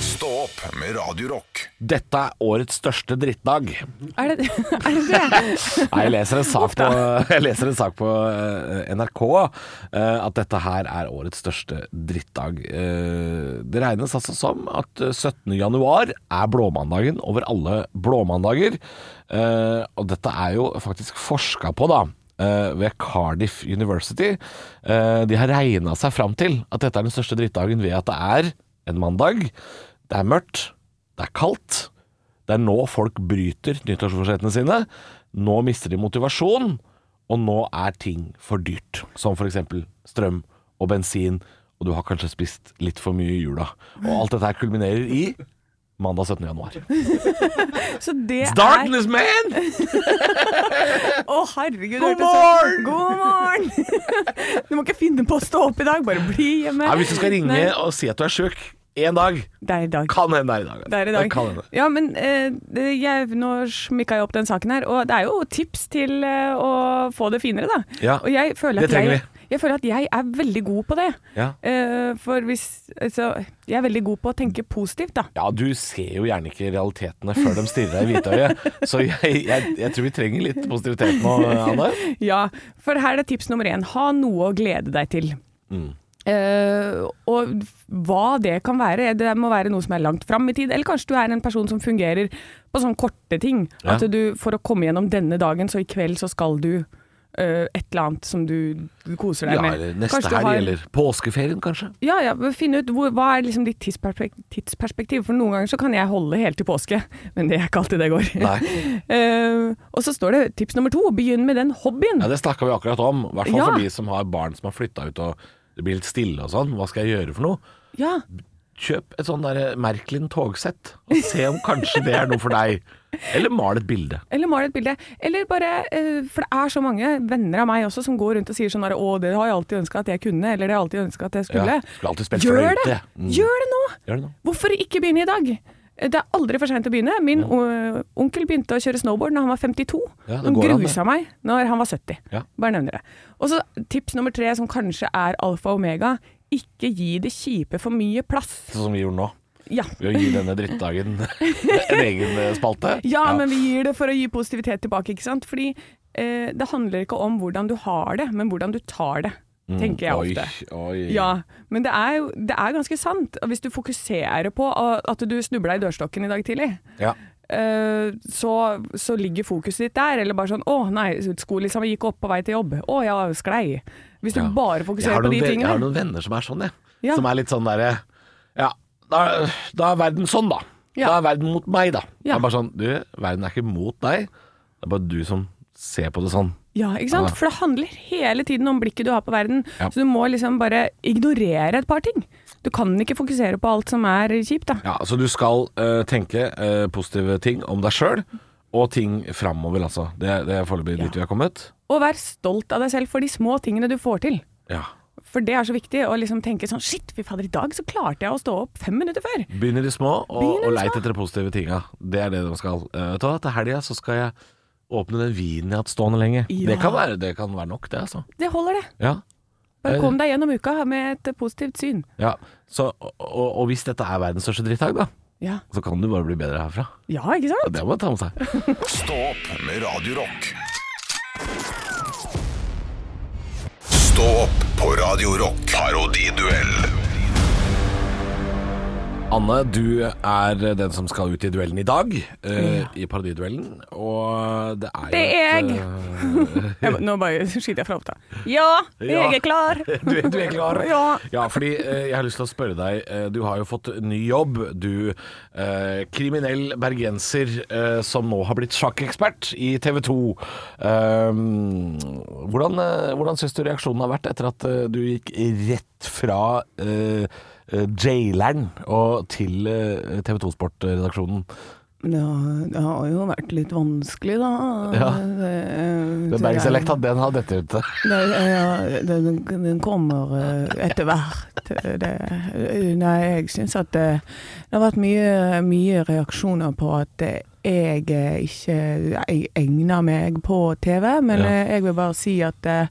Speaker 2: Stå opp med Radio Rock.
Speaker 4: Dette er årets største drittdag.
Speaker 3: Er det er det? det?
Speaker 4: Nei, jeg leser en sak på, jeg leser en sak på eh, NRK eh, at dette her er årets største drittdag. Eh, Det regnes altså som at eh, 17. januar er blåmandagen over alle blåmandager. Eh, Og dette er jo faktisk forska på, da. eh, Ved Cardiff University. Eh, De har regna seg fram til at dette er den største drittdagen ved at det er en mandag. Det er mørkt, det er kaldt, det er nå folk bryter nyttårsforsettene sine. Nå mister de motivasjon, og nå er ting for dyrt. Som f.eks. strøm og bensin, og du har kanskje spist litt for mye i jula. Og alt dette her kulminerer i mandag 17. januar.
Speaker 3: Så det
Speaker 4: It's
Speaker 3: er
Speaker 4: darkness, man!
Speaker 3: Å, herregud.
Speaker 4: God
Speaker 3: hørtes det-
Speaker 4: morgen!
Speaker 3: God morgen! Du må ikke finne på å stå opp i dag, bare bli hjemme.
Speaker 4: Ja, hvis du skal ringe
Speaker 3: Nei.
Speaker 4: og si at du er sjuk én dag.
Speaker 3: Det er i dag.
Speaker 4: Kan hende det er i dag.
Speaker 3: Det er i dag.
Speaker 4: Kan hende.
Speaker 3: Ja, men eh, det- jeg, nå smikka jeg opp den saken her, og det er jo tips til eh, å få det finere, da.
Speaker 4: Ja,
Speaker 3: Og jeg føler
Speaker 4: det
Speaker 3: at
Speaker 4: trenger
Speaker 3: jeg, jeg føler at jeg er veldig god på det.
Speaker 4: Ja.
Speaker 3: Eh, for hvis altså, Jeg er veldig god på å tenke positivt, da.
Speaker 4: Ja, du ser jo gjerne ikke realitetene før de stirrer deg i hvitøyet, så jeg, jeg, jeg tror vi trenger litt positivitet nå, Anne.
Speaker 3: Ja, for her er tips nummer én. Ha noe å glede deg til.
Speaker 4: Mm.
Speaker 3: Eh, og hva det kan være. Det må være noe som er langt fram i tid. Eller kanskje du er en person som fungerer på sånne korte ting.
Speaker 4: Ja.
Speaker 3: At du for å komme gjennom denne dagen, så i kveld så skal du eh, et eller annet som du koser deg
Speaker 4: Ja,
Speaker 3: med.
Speaker 4: eller neste
Speaker 3: Kanskje du
Speaker 4: helg,
Speaker 3: har-
Speaker 4: eller påskeferien kanskje.
Speaker 3: Ja, ja, men finne ut hvor, hva er liksom ditt tidsperspek- tidsperspektiv. For noen ganger så kan jeg holde helt til påske, men det er ikke alltid det går.
Speaker 4: Nei.
Speaker 3: Eh, og så står det tips nummer to, begynn med den hobbyen.
Speaker 4: Ja, det snakka vi akkurat om, i hvert fall
Speaker 3: Ja.
Speaker 4: for de som har barn som har flytta ut og det blir litt stille og sånn. Hva skal jeg gjøre for noe?
Speaker 3: ja.
Speaker 4: Kjøp et sånn derre Merklin togsett, og se om kanskje det er noe for deg. Eller mal et bilde.
Speaker 3: Eller mal et bilde. Eller bare eh, For det er så mange venner av meg også som går rundt og sier sånn der, 'Å, det har jeg alltid ønska at jeg kunne', eller 'det har jeg alltid ønska at jeg skulle'.
Speaker 4: Ja, skulle alltid spilt
Speaker 3: Gjør
Speaker 4: fløyte,
Speaker 3: det!
Speaker 4: jeg. Mm.
Speaker 3: Gjør det nå!
Speaker 4: Gjør det nå.
Speaker 3: Hvorfor ikke begynne i dag? Det er aldri for seint å begynne. Min øh, onkel begynte å kjøre snowboard da han var 52.
Speaker 4: Ja, det
Speaker 3: han
Speaker 4: går an, det.
Speaker 3: grusa meg når han var 70.
Speaker 4: Ja.
Speaker 3: Bare nevner det. Og så tips nummer tre, som kanskje er alfa og omega. Ikke gi det kjipe for mye plass.
Speaker 4: Sånn som vi gjorde nå.
Speaker 3: Ja.
Speaker 4: Ved å gi denne drittdagen en egen eh, spalte.
Speaker 3: Ja, men vi gir det for å gi positivitet tilbake, ikke sant? Fordi eh, det handler ikke om hvordan du har det, men hvordan du tar det, tenker jeg
Speaker 4: Mm, Oi,
Speaker 3: ofte.
Speaker 4: oi.
Speaker 3: Ja, men det er, jo, det er ganske sant. Og Hvis du fokuserer på ah, at du snubla i dørstokken i dag tidlig,
Speaker 4: Ja.
Speaker 3: eh, så, så ligger fokuset ditt der. Eller bare sånn 'Å nei, skolissa mi gikk opp på vei til jobb'. 'Å, jeg sklei'. Hvis du
Speaker 4: Ja.
Speaker 3: bare
Speaker 4: Jeg har
Speaker 3: fokuserer på de
Speaker 4: noen ve- Jeg har
Speaker 3: tingene.
Speaker 4: noen venner som er sånn, jeg.
Speaker 3: Ja.
Speaker 4: Som er litt sånn derre Ja, da, da er verden sånn, da. Da
Speaker 3: Ja.
Speaker 4: er verden mot meg, da. Det
Speaker 3: Ja.
Speaker 4: er bare sånn Du, verden er ikke mot deg. Det er bare du som ser på det sånn.
Speaker 3: Ja, ikke sant? For det handler hele tiden om blikket du har på verden.
Speaker 4: Ja.
Speaker 3: Så du må liksom bare ignorere et par ting. Du kan ikke fokusere på alt som er kjipt, da.
Speaker 4: Ja, Så du skal eh, tenke eh, positive ting om deg sjøl, og ting framover, altså. Det, det er foreløpig dit vi har kommet.
Speaker 3: Og vær stolt av deg selv for de små tingene du får til.
Speaker 4: Ja.
Speaker 3: For det er så viktig å liksom tenke sånn Shit, fy fader, i dag så klarte jeg å stå opp fem minutter før.
Speaker 4: Begynn i det små,
Speaker 3: Begynn i det
Speaker 4: og, og
Speaker 3: små.
Speaker 4: leit etter de positive tinga. Det er det de skal. Eh, vet du hva, til helga så skal jeg åpne den vinen jeg har hatt stående lenge.
Speaker 3: Ja.
Speaker 4: Det, kan være, det kan være nok, det, altså.
Speaker 3: Det holder, det.
Speaker 4: Ja.
Speaker 3: Bare
Speaker 4: Eh,
Speaker 3: kom deg gjennom uka med et positivt syn.
Speaker 4: Ja, så, og, og og hvis dette er verdens største drittdag, da,
Speaker 3: Ja,
Speaker 4: så kan du bare bli bedre herfra.
Speaker 3: ja ikke
Speaker 4: Ja,
Speaker 3: sant?
Speaker 4: Det må man ta med seg.
Speaker 2: Stå opp med Radio Rock. Stå opp på Radio Rock. Parodiduell.
Speaker 4: Anne, du er den som skal ut i duellen i dag, eh, i parodiduellen. Og det er
Speaker 3: Det er jeg.
Speaker 4: jo et, eh,
Speaker 3: Jeg, må- nå bare skyter jeg fra hofta. Ja,
Speaker 4: Ja.
Speaker 3: jeg er klar.
Speaker 4: du, er- du er klar?
Speaker 3: Ja.
Speaker 4: fordi eh, jeg har lyst til å spørre deg. eh, du har jo fått ny jobb. Du, eh, kriminell bergenser eh, som nå har blitt sjakkekspert i TV 2. Ehm, hvordan eh, hvordan syns du reaksjonen har vært etter at eh, du gikk rett fra eh, eh, jaileren og til eh, TV 2-sportredaksjonen?
Speaker 3: Det har, det har jo vært litt vanskelig, da.
Speaker 4: Ja.
Speaker 3: Det, eh,
Speaker 4: Den bergenselekta, den har dette ute.
Speaker 3: Nei, ja, den, den kommer eh, etter hvert. Det, nei, jeg syns at det, det har vært mye, mye reaksjoner på at eh, jeg eh, ikke jeg egner meg på TV, men
Speaker 4: Ja.
Speaker 3: eh, jeg vil bare si at eh,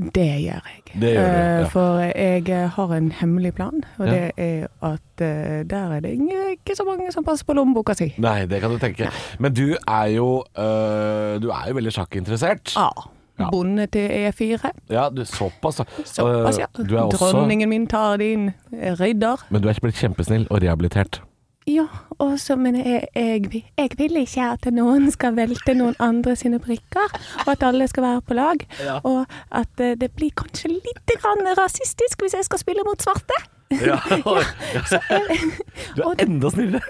Speaker 3: det gjør jeg.
Speaker 4: Det gjør du,
Speaker 3: Eh,
Speaker 4: ja.
Speaker 3: For jeg eh, har en hemmelig plan, og
Speaker 4: Ja.
Speaker 3: det er at eh, der er det ing- ikke så mange som passer på lommeboka si.
Speaker 4: Nei, det kan du tenke. Men du er jo, eh, du er jo veldig sjakkinteressert.
Speaker 3: Ja.
Speaker 4: Ja.
Speaker 3: Bonde til E4.
Speaker 4: Ja, du, såpass, da.
Speaker 3: Såpass, ja.
Speaker 4: Eh, Du er også,
Speaker 3: Dronningen min tar din eh, ridder.
Speaker 4: Men du er ikke blitt kjempesnill og rehabilitert.
Speaker 7: Ja, også, men jeg, jeg, vil- jeg vil ikke at noen skal velte noen andre sine brikker, og at alle skal være på lag. Og at eh, det blir kanskje litt grann rasistisk hvis jeg skal spille mot svarte.
Speaker 4: Ja. Du er enda snillere.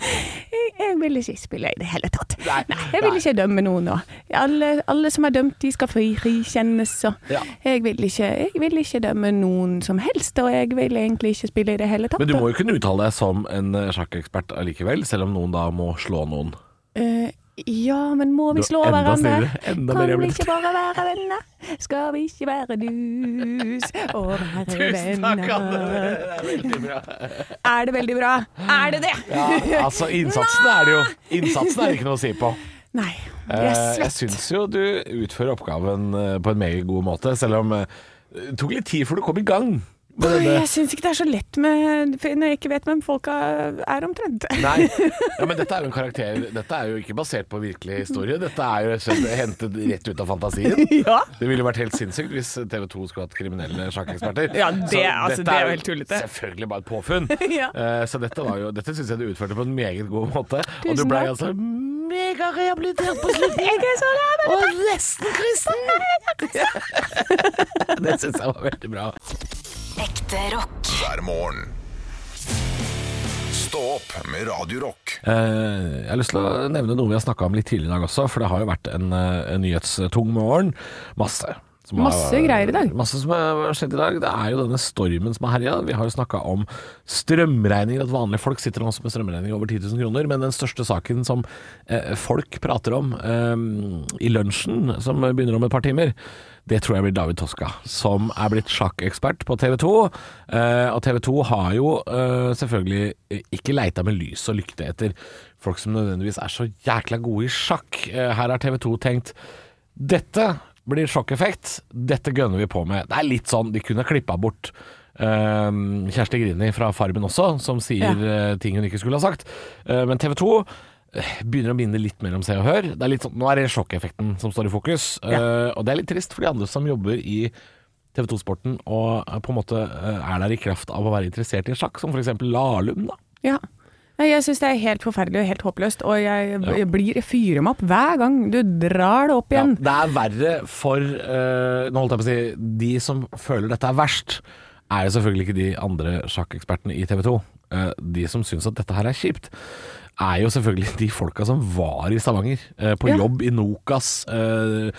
Speaker 7: Jeg, jeg vil ikke spille i det hele tatt. Nei, jeg vil ikke dømme noen nå. Alle, alle som er dømt, de skal fri- frikjennes. Så
Speaker 4: Ja.
Speaker 7: jeg, vil ikke, jeg vil ikke dømme noen som helst, og jeg vil egentlig ikke spille i det hele tatt.
Speaker 4: Men du må jo kunne uttale deg som en eh, sjakkekspert allikevel, selv om noen da må slå noen.
Speaker 7: Eh, Ja, men må vi
Speaker 4: Du er
Speaker 7: slå
Speaker 4: enda
Speaker 7: hverandre?
Speaker 4: snillere, enda mer
Speaker 7: Kan vi
Speaker 4: jævlig.
Speaker 7: ikke bare være venner? Skal vi ikke være dus og være venner? Er det veldig bra? Er det det?
Speaker 4: Ja, altså, innsatsen er det jo Innsatsen er det ikke noe å si på.
Speaker 7: Nei, jeg
Speaker 4: Eh,
Speaker 7: er
Speaker 4: Jeg
Speaker 7: svett.
Speaker 4: syns jo du utfører oppgaven eh, på en meget god måte, selv om eh, det tok litt tid før du kom i gang. med
Speaker 3: Oi,
Speaker 4: denne-
Speaker 3: jeg syns ikke det er så lett med for når jeg ikke vet hvem folka er omtrent.
Speaker 4: Nei, ja, men dette er jo en karakter Dette er jo ikke basert på virkelig historie. Dette er jo rett og slett hentet rett ut av fantasien.
Speaker 3: Ja.
Speaker 4: Det ville jo vært helt sinnssykt hvis TV 2 skulle hatt kriminelle sjakkeksperter.
Speaker 3: Ja, det-
Speaker 4: Så
Speaker 3: altså,
Speaker 4: dette
Speaker 3: det er jo helt tullete.
Speaker 4: Selvfølgelig bare et påfunn.
Speaker 3: Ja.
Speaker 4: Eh, så dette, var jo- dette syns jeg du utførte på en meget god måte. og du
Speaker 7: Tusen
Speaker 4: ble
Speaker 7: takk.
Speaker 4: altså megarehabilitert på slutten.
Speaker 7: Jeg er så lei meg!
Speaker 4: og nesten kristen! det syns jeg var veldig bra.
Speaker 1: Ekte rock.
Speaker 2: hver morgen. Stå opp med Radio Rock.
Speaker 4: Eh, Jeg har lyst til å nevne noe vi har snakka om litt tidligere i dag også, for det har jo vært en, eh, en nyhetstung morgen. Masse. som har-
Speaker 7: Masse greier i dag.
Speaker 4: Masse som har skjedd i dag. Det er jo denne stormen som har herja. Vi har jo snakka om strømregninger, at vanlige folk sitter nå også med strømregninger over 10 000 kroner. Men den største saken som eh, folk prater om eh, i lunsjen, som begynner om et par timer, det tror jeg blir David Toska, som er blitt sjakkekspert på TV 2. Eh, og TV 2 har jo eh, selvfølgelig ikke leita med lys og lykte etter folk som nødvendigvis er så jækla gode i sjakk. Eh, her har TV 2 tenkt dette blir sjokkeffekt, dette gønner vi på med. Det er litt sånn, de kunne klippa bort eh, Kjersti Grini fra Farmen også, som sier eh, ting hun ikke skulle ha sagt. Eh, men TV 2 eh, begynner å minne litt mer om Se og Hør. Det er litt sånn, nå er det sjokkeffekten som står i fokus, eh, og det er litt trist for de andre som jobber i TV 2-sporten og eh, på en måte eh, er der i kraft av å være interessert i sjakk, som f.eks. Lahlum, da.
Speaker 3: Ja. Nei, Jeg syns det er helt forferdelig og helt håpløst, og jeg, jeg blir jeg fyrer meg opp hver gang du drar det opp igjen.
Speaker 4: Ja, det er verre for eh, Nå holdt jeg på å si De som føler dette er verst, er jo selvfølgelig ikke de andre sjakkekspertene i TV 2. Eh, de som syns at dette her er kjipt, er jo selvfølgelig de folka som var i Stavanger. eh, på
Speaker 3: Ja.
Speaker 4: jobb i Nokas. eh,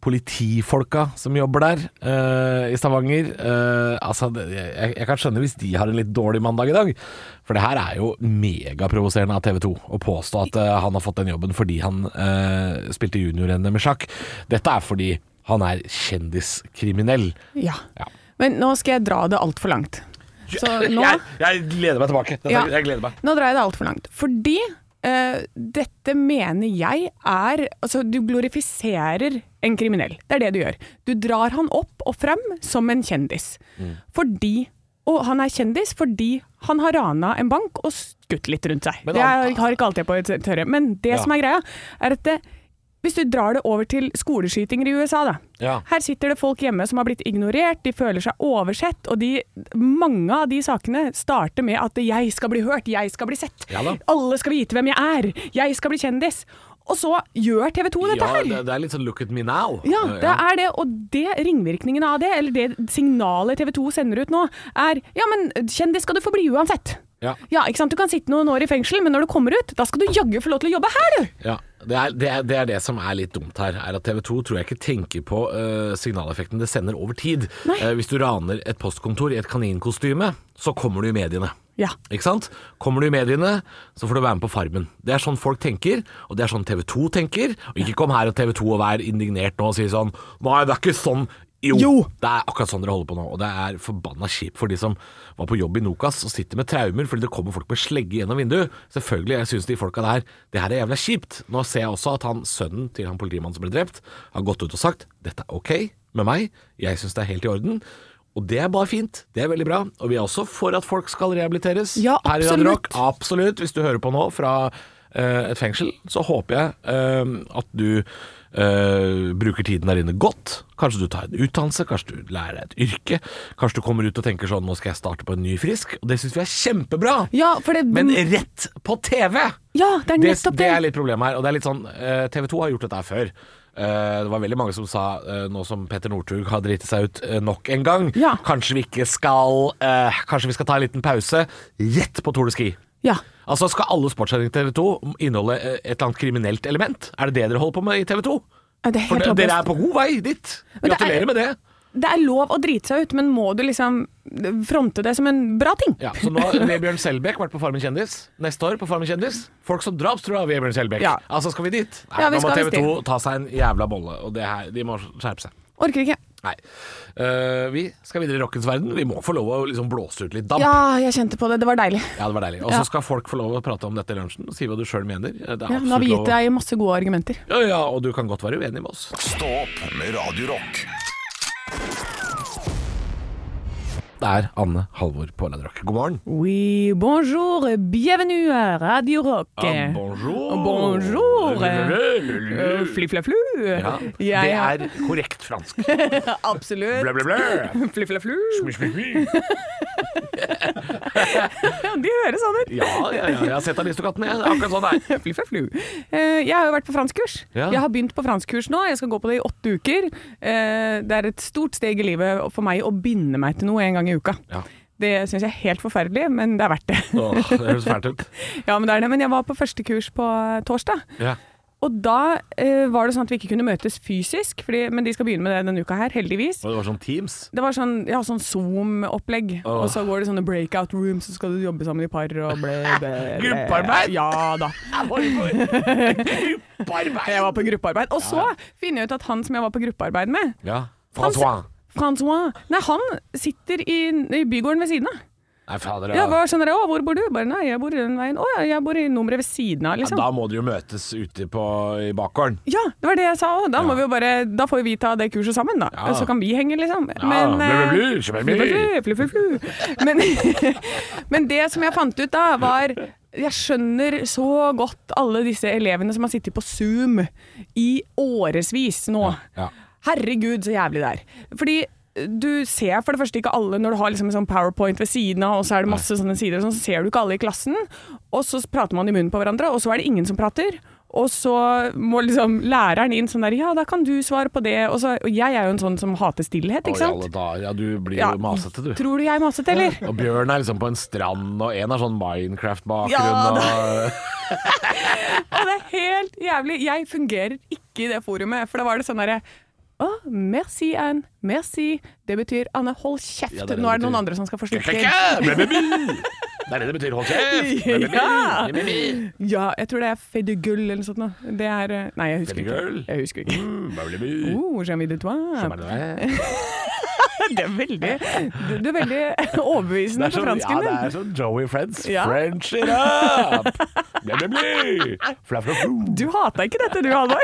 Speaker 4: politifolka som jobber der eh, i Stavanger. Eh, altså, det, jeg, jeg kan skjønne hvis de har en litt dårlig mandag i dag. For det her er jo megaprovoserende av TV 2 å påstå at eh, han har fått den jobben fordi han eh, spilte juniorrennet med sjakk. Dette er fordi han er kjendiskriminell.
Speaker 3: Ja.
Speaker 4: Ja.
Speaker 3: Men nå skal jeg dra det altfor langt. Så nå,
Speaker 4: Jeg, jeg gleder meg tilbake. Dette,
Speaker 3: Ja.
Speaker 4: Jeg gleder meg.
Speaker 3: nå drar jeg det altfor langt. Fordi eh, dette mener jeg er Altså, du glorifiserer en kriminell. Det er det du gjør. Du drar han opp og frem som en kjendis.
Speaker 4: Mm.
Speaker 3: Fordi Og han er kjendis fordi han har rana en bank og skutt litt rundt seg.
Speaker 4: Men
Speaker 3: det
Speaker 4: han-
Speaker 3: er, har ikke alltid på et tørre. Men det
Speaker 4: Ja.
Speaker 3: som er greia, er at det, hvis du drar det over til skoleskytinger i USA, da.
Speaker 4: Ja.
Speaker 3: Her sitter det folk hjemme som har blitt ignorert, de føler seg oversett, og de, mange av de sakene starter med at 'jeg skal bli hørt, jeg skal bli sett',
Speaker 4: Ja da.
Speaker 3: 'alle skal vite hvem jeg er', 'jeg skal bli kjendis'. Og så gjør TV 2 dette
Speaker 4: Ja,
Speaker 3: her!
Speaker 4: det, det er litt sånn look at me now.
Speaker 3: Ja,
Speaker 4: Eh,
Speaker 3: det er det, og det ringvirkningene av det, eller det signalet TV 2 sender ut nå, er 'ja, men kjendis skal du få bli uansett'.
Speaker 4: Ja.
Speaker 3: ikke sant? Du kan sitte noen år i fengsel, men når du kommer ut, da skal du jaggu få lov til å jobbe her, du!
Speaker 4: Ja, det er, det, er, det er det som er litt dumt her, er at TV 2 tror jeg ikke tenker på eh, signaleffekten det sender over tid. Eh, hvis du raner et postkontor i et kaninkostyme, så kommer du i mediene.
Speaker 3: Ja.
Speaker 4: Ikke sant? Kommer du i mediene, så får du være med på Farmen. Det er sånn folk tenker, og det er sånn TV 2 tenker. Og ikke kom her og TV 2 og vær indignert nå og si sånn Nei, det er ikke sånn. Jo,
Speaker 3: Jo.
Speaker 4: det er akkurat sånn dere holder på nå, og det er forbanna kjipt for de som var på jobb i Nokas og sitter med traumer fordi det kommer folk med slegge gjennom vinduet. Selvfølgelig, jeg syns de folka der Det her er jævla kjipt. Nå ser jeg også at han sønnen til han politimannen som ble drept, har gått ut og sagt dette er ok med meg, jeg syns det er helt i orden. Og det er bare fint. Det er veldig bra. Og vi er også for at folk skal rehabiliteres.
Speaker 3: Ja,
Speaker 4: Her i Radio
Speaker 3: absolutt.
Speaker 4: Rock. Absolutt. Hvis du hører på nå fra eh, et fengsel, så håper jeg eh, at du eh, bruker tiden der inne godt. Kanskje du tar en utdannelse, kanskje du lærer deg et yrke. Kanskje du kommer ut og tenker sånn Nå skal jeg starte på en ny frisk. Og det syns vi er kjempebra.
Speaker 3: Ja, for det,
Speaker 4: Men rett på TV!
Speaker 3: ja, det er
Speaker 4: det,
Speaker 3: nettopp
Speaker 4: det er litt problemet her. Og det er litt sånn, TV 2 har gjort dette her før. Eh, det var veldig mange som sa, eh, nå som Petter Northug har driti seg ut eh, nok en gang
Speaker 3: Ja.
Speaker 4: Kanskje vi ikke skal eh, Kanskje vi skal ta en liten pause. Rett på Tour de Ski.
Speaker 3: Ja.
Speaker 4: Altså, skal alle sportssendinger til TV 2 inneholde eh, et eller annet kriminelt element? Er det det dere holder på med i TV 2?
Speaker 3: Ja, Det er
Speaker 4: For
Speaker 3: helt
Speaker 4: de- dere
Speaker 3: håpløst.
Speaker 4: er på god vei dit.
Speaker 3: Men det er-
Speaker 4: Gratulerer med det.
Speaker 3: det er lov å drite seg ut, men må du liksom fronte det som en bra ting?
Speaker 4: Ja, så nå har Vebjørn Selbekk vært på Farmen kjendis. Neste år på Farmen kjendis. Folk som drapstrua Vebjørn Selbekk.
Speaker 3: Ja.
Speaker 4: Altså, skal vi dit? Nei,
Speaker 3: Ja, vi
Speaker 4: nå må
Speaker 3: skal
Speaker 4: TV
Speaker 3: visst
Speaker 4: 2 ta seg en jævla bolle, og det her, de må skjerpe seg.
Speaker 3: Orker ikke.
Speaker 4: Nei. Eh, vi skal videre i rockens verden. Vi må få lov å liksom blåse ut litt damp. Ja.
Speaker 3: Ja, jeg kjente på det. Det var deilig.
Speaker 4: det var deilig. Og så
Speaker 3: Ja.
Speaker 4: skal folk få lov å prate om dette i lunsjen. Si hva du sjøl mener. Det er
Speaker 3: Ja, nå har
Speaker 4: absolutt
Speaker 3: vi
Speaker 4: lov
Speaker 3: gitt
Speaker 4: å-
Speaker 3: deg masse gode argumenter.
Speaker 4: Ja, ja, og du kan godt være uenig med oss.
Speaker 2: Stå opp med Radio Rock.
Speaker 4: Det er Anne Halvor på Radio Rock. God morgen.
Speaker 3: Oui, bonjour, bienvenue, Radio Rock.
Speaker 4: bonjour.
Speaker 3: Bonjour.
Speaker 4: Lulululu.
Speaker 3: Eh, Fli-fla-flu.
Speaker 4: Ja, det er korrekt fransk.
Speaker 3: Absolutt.
Speaker 4: Blæ, blæ, blæ.
Speaker 3: Fli-fla-flu.
Speaker 4: Smi, smi, smi.
Speaker 3: De høres sånn ut.
Speaker 4: Ja, ja, ja, jeg har sett Aristokatten, jeg. Det er Akkurat sånn det er.
Speaker 3: Fli-fla-flu. Eh, Jeg har jo vært på franskkurs.
Speaker 4: Ja.
Speaker 3: Jeg har begynt på franskkurs nå. Jeg skal gå på det i åtte uker. Eh, Det er et stort steg i livet for meg å binde meg til noe en gang i uka.
Speaker 4: Ja.
Speaker 3: Det syns jeg er helt forferdelig, men det er verdt det.
Speaker 4: Åh, det høres fælt ut.
Speaker 3: Ja, men det er det. Men jeg var på første kurs på eh, torsdag.
Speaker 4: Ja.
Speaker 3: Og da eh, var det sånn at vi ikke kunne møtes fysisk, fordi, men de skal begynne med det denne uka her, heldigvis.
Speaker 4: Og det var sånn Teams.
Speaker 3: Det var sånn, ja, sånn Zoom-opplegg,
Speaker 4: Åh.
Speaker 3: og så går det sånne breakout rooms, så skal du jobbe sammen i par og ble, ble, ble.
Speaker 4: Gruppearbeid?
Speaker 3: Ja da. Jeg
Speaker 4: Gruppearbeid!
Speaker 3: var på gruppearbeid. Og så finner jeg ut at han som jeg var på gruppearbeid med,
Speaker 4: Ja. Francois.
Speaker 3: Francois, nei, han sitter i, i bygården ved siden av.
Speaker 4: Nei, fader.
Speaker 3: Ja,
Speaker 4: Ja.
Speaker 3: hva skjønner jeg? Å, hvor bor du? Bare, nei, jeg bor i den veien. Å, ja, jeg bor i nummeret ved siden av, liksom.
Speaker 4: Da må dere jo møtes ute på, i bakgården.
Speaker 3: Ja, det var det jeg sa òg. Da, må vi jo bare- da får vi ta det kurset sammen, da.
Speaker 4: Ja.
Speaker 3: Så kan vi henge, liksom.
Speaker 4: Ja,
Speaker 3: eh,
Speaker 4: blu, blu, blu, blu, blu.
Speaker 3: blu, blu, blu, blu. Men, men det som jeg fant ut da, var jeg skjønner så godt alle disse elevene som har sittet på Zoom i årevis nå.
Speaker 4: Ja.
Speaker 3: Herregud, så jævlig det er. Fordi eh, du ser for det første ikke alle når du har liksom en sånn powerpoint ved siden av, og så er det masse sånne sider, og sånn, så ser du ikke alle i klassen. Og så prater man i munnen på hverandre, og så er det ingen som prater. Og så må liksom læreren inn sånn der Ja, da kan du svare på det. Og, så, og jeg er jo en sånn som hater stillhet,
Speaker 4: Å,
Speaker 3: ikke
Speaker 4: i alle
Speaker 3: sant?
Speaker 4: dager. Ja, du blir
Speaker 3: Ja.
Speaker 4: jo masete, du.
Speaker 3: Tror du jeg er masete, eller?
Speaker 4: Og Bjørn er liksom på en strand, og en har sånn Minecraft-bakgrunn.
Speaker 3: Ja,
Speaker 4: og...
Speaker 3: Og det er helt jævlig. Jeg fungerer ikke i det forumet, for da var det sånn derre å, merci, Anne. Merci. Det betyr Anne, hold kjeft.
Speaker 4: Ja, det er det
Speaker 3: Nå er det
Speaker 4: det betyr.
Speaker 3: noen andre som skal få slukke.
Speaker 4: Blæ, blæ, blæ. Det er det det betyr. Hold kjeft! Blæ, blæ, blæ.
Speaker 3: Ja.
Speaker 4: Blæ, blæ, blæ.
Speaker 3: Ja, jeg tror det er Fedegull eller noe sånt. nå. Det er eh, Nei, jeg husker
Speaker 4: Fedegull?
Speaker 3: ikke. Jeg husker ikke.
Speaker 4: Blæ, blæ, blæ.
Speaker 3: Oh, Jean de toi.
Speaker 4: Hva Mm, er sånn- det der?
Speaker 3: Det er veldig Du, du er veldig overbevisende på fransken
Speaker 4: ja,
Speaker 3: din.
Speaker 4: det er sånn Joey Friends.
Speaker 3: Ja.
Speaker 4: French it up! Bli, bli, bli! Fla, fla, fla.
Speaker 3: Du hata ikke dette, du, Halvor.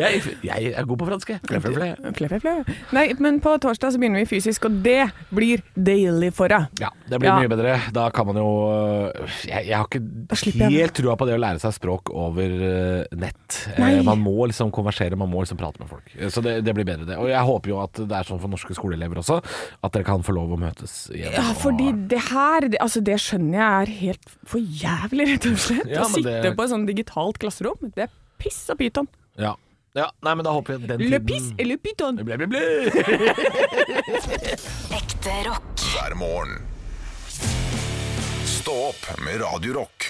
Speaker 4: Jeg, jeg er god på fransk, jeg. Fla, fla, fla.
Speaker 3: Flø, flø, flø. Nei, men på torsdag så begynner vi fysisk, og det blir deilig for deg.
Speaker 4: Ja, det blir
Speaker 3: Ja.
Speaker 4: mye bedre. Da kan man jo øh, Jeg, jeg har
Speaker 3: slipper
Speaker 4: ikke
Speaker 3: jeg-
Speaker 4: helt trua på det å lære seg språk over øh, nett. Eh,
Speaker 3: Nei.
Speaker 4: Man må liksom konversere, man må liksom prate med folk. Eh, Så det, det blir bedre, det. Og jeg håper jo at det er sånn for norske skoleelever også, at dere kan få lov å møtes igjen.
Speaker 3: Ja,
Speaker 4: og-
Speaker 3: fordi det her, det, altså det skjønner jeg er helt for jævlig, rett og slett.
Speaker 4: Ja,
Speaker 3: Å
Speaker 4: men
Speaker 3: sitte
Speaker 4: det-
Speaker 3: på et sånt digitalt klasserom, det er piss og pyton.
Speaker 4: ja. ja. Nei, men da håper vi at den
Speaker 3: Le piss et le pyton.
Speaker 4: Bli, bli, bli.
Speaker 1: Ekte rock.
Speaker 2: hver morgen. Stå opp med Radio Rock.